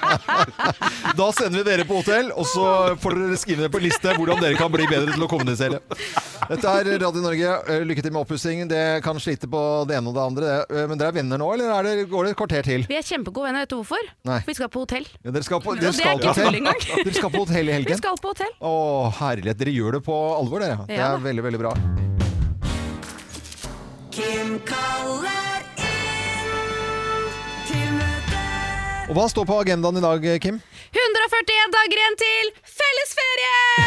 Speaker 1: Da sender vi dere på hotell, og så får dere skrive ned på en liste hvordan dere kan bli bedre til å kommunisere. Dette er Radio Norge. Eh, Lykke til med oppussingen. Det kan slite på det ene og det andre. det. Eh, Men dere er venner nå, eller er det, går det et kvarter til?
Speaker 3: Vi er kjempegode venner, vet du hvorfor?
Speaker 1: Nei.
Speaker 3: For vi skal på hotell.
Speaker 1: Ja, dere skal på,
Speaker 3: Og
Speaker 1: dere
Speaker 3: det er
Speaker 1: skal
Speaker 3: ikke
Speaker 1: på
Speaker 3: tull
Speaker 1: hotell.
Speaker 3: engang.
Speaker 1: Dere skal på hotell i
Speaker 3: Vi
Speaker 1: helgen?
Speaker 3: skal på hotell.
Speaker 1: Å, herlighet. Dere gjør det på alvor, dere. Det
Speaker 3: Ja
Speaker 1: er
Speaker 3: da.
Speaker 1: veldig, veldig bra.
Speaker 4: Kim kaller inn til møte.
Speaker 1: Og hva står på agendaen i dag, Kim?
Speaker 3: 141 dager igjen til fellesferien!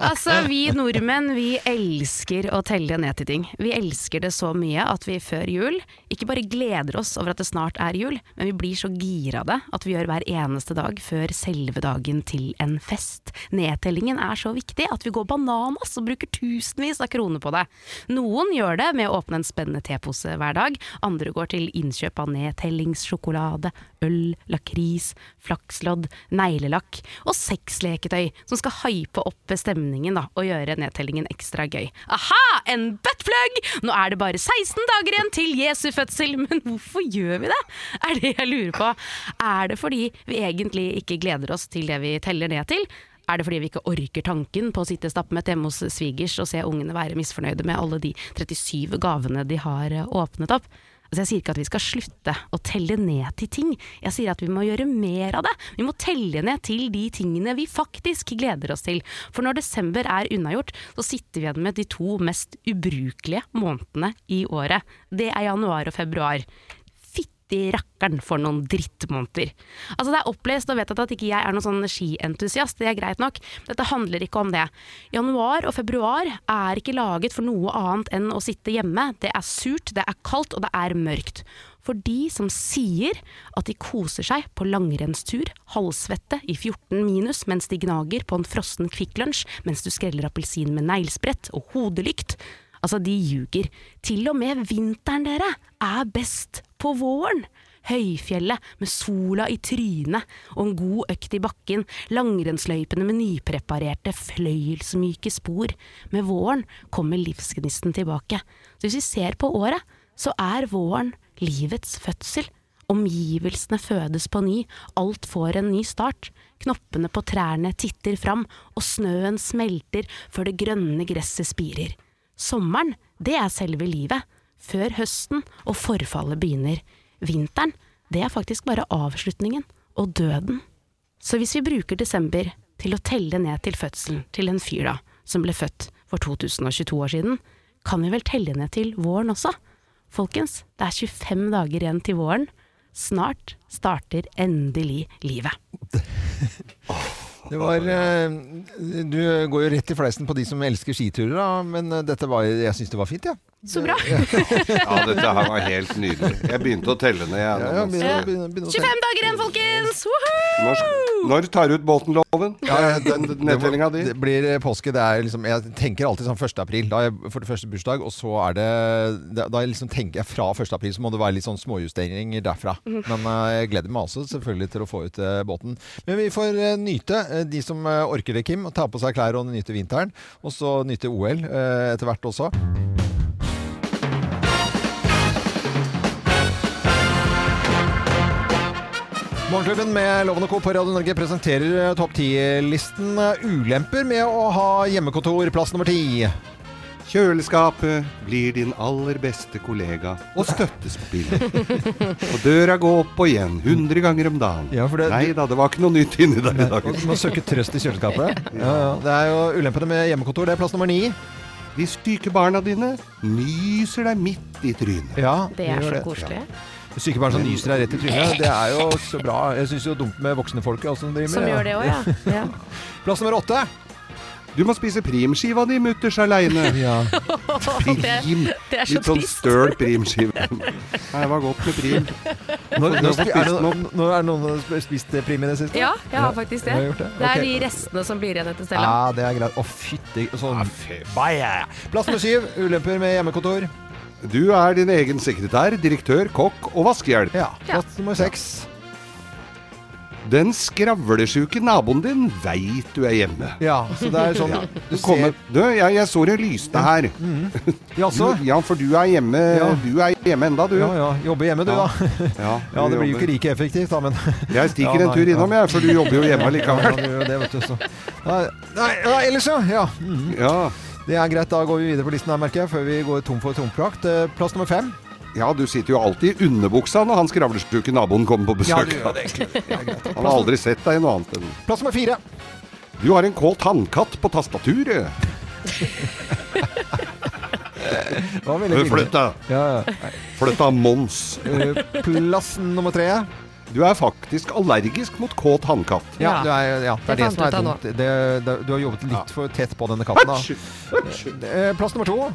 Speaker 3: altså, vi nordmenn, vi elsker å telle ned til ting. Vi elsker det så mye at vi før jul ikke bare gleder oss over at det snart er jul, men vi blir så gira av det at vi gjør hver eneste dag før selve dagen til en fest. Nedtellingen er så viktig at vi går bananas og bruker tusenvis av kroner på det. Noen gjør det med å åpne en spennende tepose hver dag, andre går til innkjøp av nedtellingssjokolade, øl, lakris, flakslodd, neglelakk og sexleketøy som skal hype opp stemningen da, og gjøre nedtellingen ekstra gøy. Aha! En buttplug! Nå er det bare 16 dager igjen til Jesu fødsel, men hvorfor gjør vi det? Er det jeg lurer på. Er det fordi vi egentlig ikke gleder oss til det vi teller ned til? Er det fordi vi ikke orker tanken på å sitte stappmett hjemme hos svigers og se ungene være misfornøyde med alle de 37 gavene de har eh, åpnet opp? Altså jeg sier ikke at vi skal slutte å telle ned til ting, jeg sier at vi må gjøre mer av det. Vi må telle ned til de tingene vi faktisk gleder oss til. For når desember er unnagjort, så sitter vi igjen med de to mest ubrukelige månedene i året. Det er januar og februar. Fytti rakkeren for noen drittmåneder. Altså Det er opplest og vedtatt at ikke jeg er noen sånn skientusiast, det er greit nok. Dette handler ikke om det. Januar og februar er ikke laget for noe annet enn å sitte hjemme. Det er surt, det er kaldt og det er mørkt. For de som sier at de koser seg på langrennstur, halvsvette i 14 minus mens de gnager på en frossen Kvikk Lunsj, mens du skreller appelsin med neglesprett og hodelykt. Altså, de ljuger. Til og med vinteren, dere, er best på våren. Høyfjellet med sola i trynet og en god økt i bakken, langrennsløypene med nypreparerte, fløyelsmyke spor. Med våren kommer livsgnisten tilbake. Så hvis vi ser på året, så er våren livets fødsel. Omgivelsene fødes på ny, alt får en ny start. Knoppene på trærne titter fram, og snøen smelter før det grønne gresset spirer. Sommeren, det er selve livet, før høsten og forfallet begynner. Vinteren, det er faktisk bare avslutningen og døden. Så hvis vi bruker desember til å telle ned til fødselen til en fyr da, som ble født for 2022 år siden, kan vi vel telle ned til våren også? Folkens, det er 25 dager igjen til våren. Snart starter endelig livet.
Speaker 1: Det var eh, Du går jo rett i fleisen på de som elsker skiturer, da, men eh, dette var Jeg syns det var fint, jeg. Ja.
Speaker 3: Så bra!
Speaker 2: Ja, dette her var helt nydelig. Jeg begynte å telle ned. Jeg,
Speaker 1: Ja,
Speaker 2: nå,
Speaker 1: ja,
Speaker 2: men-
Speaker 1: begynner- begynner- begynner å
Speaker 3: 25 dager igjen, folkens!
Speaker 2: Når, når tar du ut Bolten-loven?
Speaker 1: Ja,
Speaker 2: Den nedtellinga di?
Speaker 1: Det blir påske. Det er liksom, jeg tenker alltid sånn 1. april. Da er jeg for det første bursdag, og så er det Da da jeg liksom tenker jeg fra 1. april, så må det være litt sånn småjusteringer derfra. Men eh, jeg gleder meg også selvfølgelig til å få ut eh, båten. Men vi får eh, nyte, eh, de som eh, orker det, Kim. og Ta på seg klær og nyte vinteren. Og så nyte OL eh, etter hvert også. Morgenklubben med Loven og Co. på Radio Norge presenterer eh, topp 10-listen eh, ulemper med å ha hjemmekontor, plass nummer ti.
Speaker 2: Kjøleskapet blir din aller beste kollega og støttespiller. Og døra går opp og igjen 100 ganger om dagen.
Speaker 1: Ja, for det-
Speaker 2: Nei da, det var ikke noe nytt inni der i dag.
Speaker 1: Du må søke trøst i kjøleskapet. Ja, ja. Det er jo ulempene med hjemmekontor. Det er plass nummer ni.
Speaker 2: De syke barna dine nyser deg midt i trynet.
Speaker 1: Ja,
Speaker 3: Det er
Speaker 1: gjør
Speaker 3: så
Speaker 1: det.
Speaker 3: koselig.
Speaker 1: Syke barn som nyser deg rett i trynet. Det er jo så bra. Jeg syns jo dumt med voksne folk også, som driver
Speaker 3: Som gjør det òg, ja. ja.
Speaker 1: Plass nummer åtte.
Speaker 2: Du må spise primskiva di mutters aleine.
Speaker 1: Ja.
Speaker 2: Prim.
Speaker 3: det er så
Speaker 2: Litt sånn
Speaker 3: trist.
Speaker 2: støl primskive. Nei, det var godt med prim.
Speaker 1: Nå, nå,
Speaker 2: spist
Speaker 1: er det,
Speaker 2: den opp.
Speaker 1: nå er det noen som har spist eh, prim i det siste?
Speaker 3: Ja, jeg har
Speaker 1: Ja,
Speaker 3: faktisk det.
Speaker 1: jeg har gjort det.
Speaker 3: Det er de
Speaker 1: Ok.
Speaker 3: restene som blir igjen etter Stella.
Speaker 1: Ja, det er greit. Å, fytti sånn. Baja. Plass nummer syv. Ulemper med hjemmekontor.
Speaker 2: Du er din egen sekretær, direktør, kokk og vaskehjelp.
Speaker 1: Ja. Plass nummer seks.
Speaker 2: Den skravlesjuke naboen din veit du er hjemme.
Speaker 1: Ja, så det er sånn
Speaker 2: Ja.
Speaker 1: Du
Speaker 2: Du kommer,
Speaker 1: ser
Speaker 2: du, jeg, jeg så det lyste her. Du,
Speaker 1: Jaså?
Speaker 2: ja, for du er hjemme
Speaker 1: Ja.
Speaker 2: Du er hjemme enda, du.
Speaker 1: Ja ja. Jobbe hjemme, du,
Speaker 2: Ja.
Speaker 1: da. Ja, det blir jo ikke like effektivt, da, men
Speaker 2: Jeg stikker
Speaker 1: Ja,
Speaker 2: en tur
Speaker 1: nei,
Speaker 2: innom,
Speaker 1: ja.
Speaker 2: jeg, for du jobber jo hjemme
Speaker 1: Ja,
Speaker 2: likevel.
Speaker 1: det gjør jo det, vet du, så. Nei, nei, ja, ellers, ja. ja. mm.
Speaker 2: Ja.
Speaker 1: Det er greit. Da går vi videre på listen her, merker jeg, før vi går tom for tomprakt. Eh, Plass nummer fem.
Speaker 2: ja, du sitter jo alltid i underbuksa når han skravlestuke naboen kommer på besøk. han har aldri sett deg i noe annet enn
Speaker 1: Plass nummer fire.
Speaker 2: Du har en kåt hannkatt på tastaturet.
Speaker 1: Det var veldig
Speaker 2: Flytt
Speaker 1: fint.
Speaker 2: deg!
Speaker 1: Ja, ja.
Speaker 2: Flytt deg, Mons.
Speaker 1: Eh, Plass nummer tre.
Speaker 2: Du er faktisk allergisk mot kåt hannkatt.
Speaker 1: Ja,
Speaker 3: Ja.
Speaker 1: du er, ja, det
Speaker 3: Det
Speaker 1: er det
Speaker 3: fant
Speaker 1: som er
Speaker 3: ut av
Speaker 1: dumt. Det, det, du har jobbet litt for tett på denne katten, da. Eh, Plass nummer to.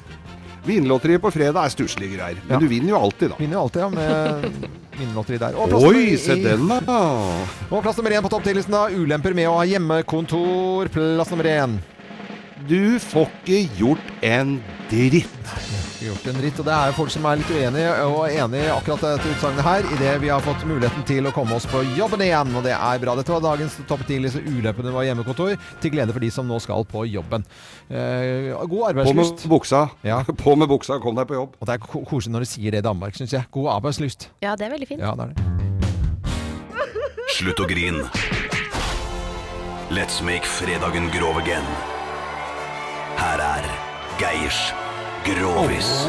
Speaker 2: Vinlotteriet på fredag er stusslige greier, men
Speaker 1: Ja.
Speaker 2: du vinner jo alltid, da.
Speaker 1: Vinner jo alltid, ja, med vinnerlotteri der. Og plass
Speaker 2: Oi,
Speaker 1: nummer
Speaker 2: se
Speaker 1: i-
Speaker 2: den, da!
Speaker 1: Og plass nummer én på topp 10-listen, da. Ulemper med å ha hjemmekontor. Plass nummer én.
Speaker 2: Du får ikke gjort en dritt.
Speaker 1: gjort en dritt. Og det er jo folk som er litt uenige og enige i akkurat dette utsagnet her, idet vi har fått muligheten til å komme oss på jobben igjen. Og det er bra. Dette var dagens topp 10 disse ulempene med å ha hjemmekontor, til glede for de som nå skal på jobben. Eh, god
Speaker 2: På med
Speaker 1: arbeidslyst.
Speaker 2: buksa.
Speaker 1: Ja.
Speaker 2: På med buksa, kom deg på jobb.
Speaker 1: Og det er ko- koselig når de sier det i Danmark, syns jeg. God arbeidslyst.
Speaker 3: Ja, det er veldig fint.
Speaker 1: Ja, det er det.
Speaker 10: Slutt å grin. Let's make fredagen grov again. Her er Geirs Grovis.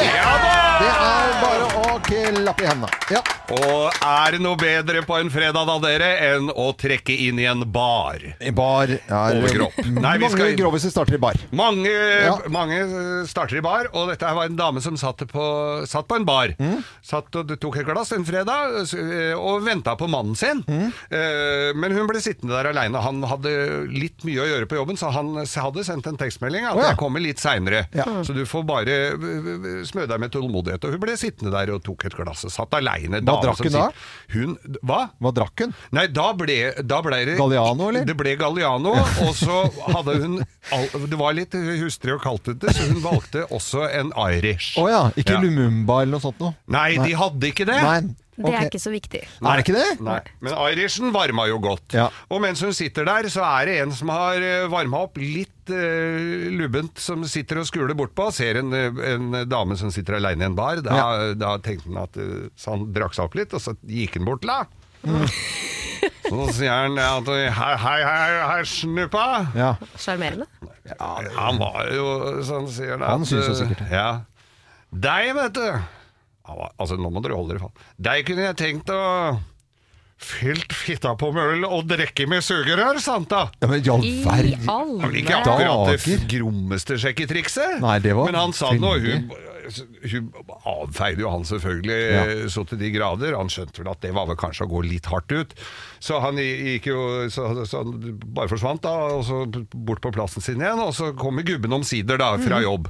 Speaker 1: Det er bare å klappe i hendene. Ja.
Speaker 5: Og er det noe bedre på en fredag da, dere, enn å trekke inn i en bar?
Speaker 1: Bar er
Speaker 5: Overkropp. Nei, vi skal
Speaker 1: Mange
Speaker 5: inn.
Speaker 1: groviser starter i bar.
Speaker 5: Mange,
Speaker 1: Ja.
Speaker 5: mange eh, starter i bar, og dette her var en dame som satt på, satt på en bar.
Speaker 1: Mm.
Speaker 5: Satt og tok et glass en fredag eh, s- eh, og venta på mannen sin.
Speaker 1: Mm.
Speaker 5: Eh, Men hun ble sittende der aleine. Han hadde litt mye å gjøre på jobben, så han s- hadde sendt en tekstmelding at
Speaker 1: Å, ja.
Speaker 5: 'jeg kommer litt seinere',
Speaker 1: Ja.
Speaker 5: så du får bare eh, smøre deg med tålmodighet. Og hun ble sittende der og tok et glass og satt aleine.
Speaker 1: Hva drakk hun da?
Speaker 5: Hun, hva?
Speaker 1: Hva drakk hun?
Speaker 5: Nei, da ble, da ble det
Speaker 1: Galliano, eller?
Speaker 5: Det ble Galliano, og så hadde hun al, Det var litt hustrig og kaltete, så hun valgte også en Irish.
Speaker 1: Å ja, ikke
Speaker 5: Ja.
Speaker 1: Lumumba eller noe sånt noe?
Speaker 5: Nei, de hadde ikke det.
Speaker 1: Nei. Ok.
Speaker 11: Det er ikke så viktig.
Speaker 1: Er det ikke det?
Speaker 5: Nei. Men Irishen varma jo godt.
Speaker 1: Ja.
Speaker 5: Og mens hun sitter der, så er det en som har varma opp litt eh, lubbent, som sitter og skuler bortpå. Ser en, eh, en dame som sitter aleine i en bar. Da, da tenkte han at eh, Så han drakk seg opp litt, og så gikk han bort til henne. Så sier han at Hei, hei, hei, hei snuppa.
Speaker 1: Ja.
Speaker 11: Sjarmerende.
Speaker 5: Ja, han var jo sånn, sier han.
Speaker 1: Han
Speaker 5: at,
Speaker 1: synes det
Speaker 5: eh,
Speaker 1: sikkert.
Speaker 5: Ja. Deg, vet du. Han var- Altså, nå må dere holde dere fast. Deg kunne jeg tenkt å fylt fitta på med øl og drikke med sugerør, sant da?
Speaker 1: ja men i all
Speaker 11: I
Speaker 1: verden
Speaker 11: all
Speaker 5: Det var vel ikke
Speaker 11: verden.
Speaker 5: akkurat det
Speaker 1: Dager.
Speaker 5: grommeste sjekketrikset,
Speaker 1: Nei, det var
Speaker 5: men han sa det, og hun, hun avfeide jo han selvfølgelig eh, så til de grader. Han skjønte vel at det var vel kanskje å gå litt hardt ut. Så han gikk jo så, så han bare forsvant, da, og så bort på plassen sin igjen. Og så kommer gubben omsider, da,
Speaker 1: Mhm.
Speaker 5: fra jobb.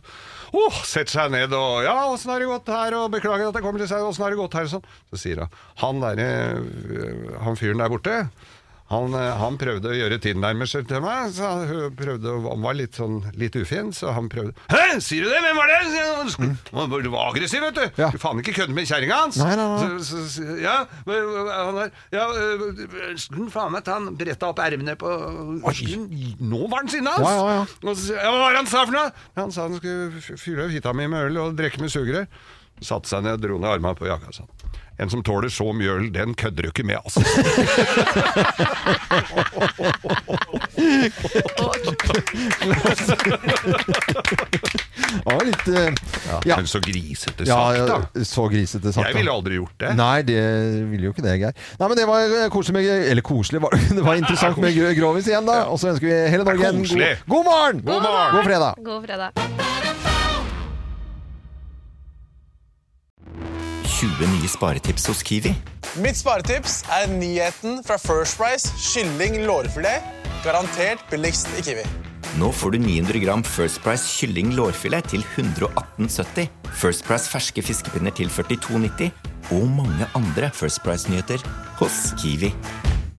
Speaker 5: Oh, setter seg ned og 'Ja, åssen har det gått her?' og 'Beklager at jeg kommer til seg, åssen har det gått her?' og sånn. Så sier hun han, derre, øh, han fyren der borte han, øh, han prøvde å gjøre tilnærmelser til meg. Så han øh, prøvde, å- han var litt sånn litt ufin, så han prøvde 'Hæ, sier du det? Hvem var det?' Sier han. Sk- Han var- Du var aggressiv, vet du.
Speaker 1: Mm. Ja.
Speaker 5: Du faen ikke kødde med kjerringa hans.
Speaker 1: Nei, nei, nei.
Speaker 5: Så, så, så, ja, men, øh, han der Ja, øh, skulle faen meg ta han bretta opp ermene på Nå var han sinna,
Speaker 1: Ja, ja, ja.
Speaker 5: og så, sier jeg, hva var det han sa for noe? Han sa han skulle f- fylle opp hytta mi med øl og drikke med sugerør. Satte seg ned og dro ned armene på jakka. Sånn. En som tåler så mye øl, den kødder du ikke med, altså.
Speaker 1: Det var litt eh, Ja,
Speaker 5: Men så grisete
Speaker 1: ja,
Speaker 5: sagt, da.
Speaker 1: ja så grisete sagt.
Speaker 5: Jeg
Speaker 1: da.
Speaker 5: ville aldri gjort det.
Speaker 1: Nei, det ville jo ikke det, Geir. Nei, men det var eh, koselig med Eller koselig, var, det var interessant med Gro- Grovis igjen, da. Og så ønsker vi hele Norge en god,
Speaker 5: Koselig.
Speaker 1: god morgen!
Speaker 5: God morgen!
Speaker 1: God fredag!
Speaker 11: God fredag.
Speaker 10: 20 nye sparetips hos Kiwi.
Speaker 12: Mitt sparetips er nyheten fra First Price kylling lårfilet. Garantert billigst i Kiwi.
Speaker 10: Nå får du 900 gram First Price kylling lårfilet til 118,70. First Price ferske fiskepinner til 42,90. Og mange andre First Price-nyheter hos Kiwi.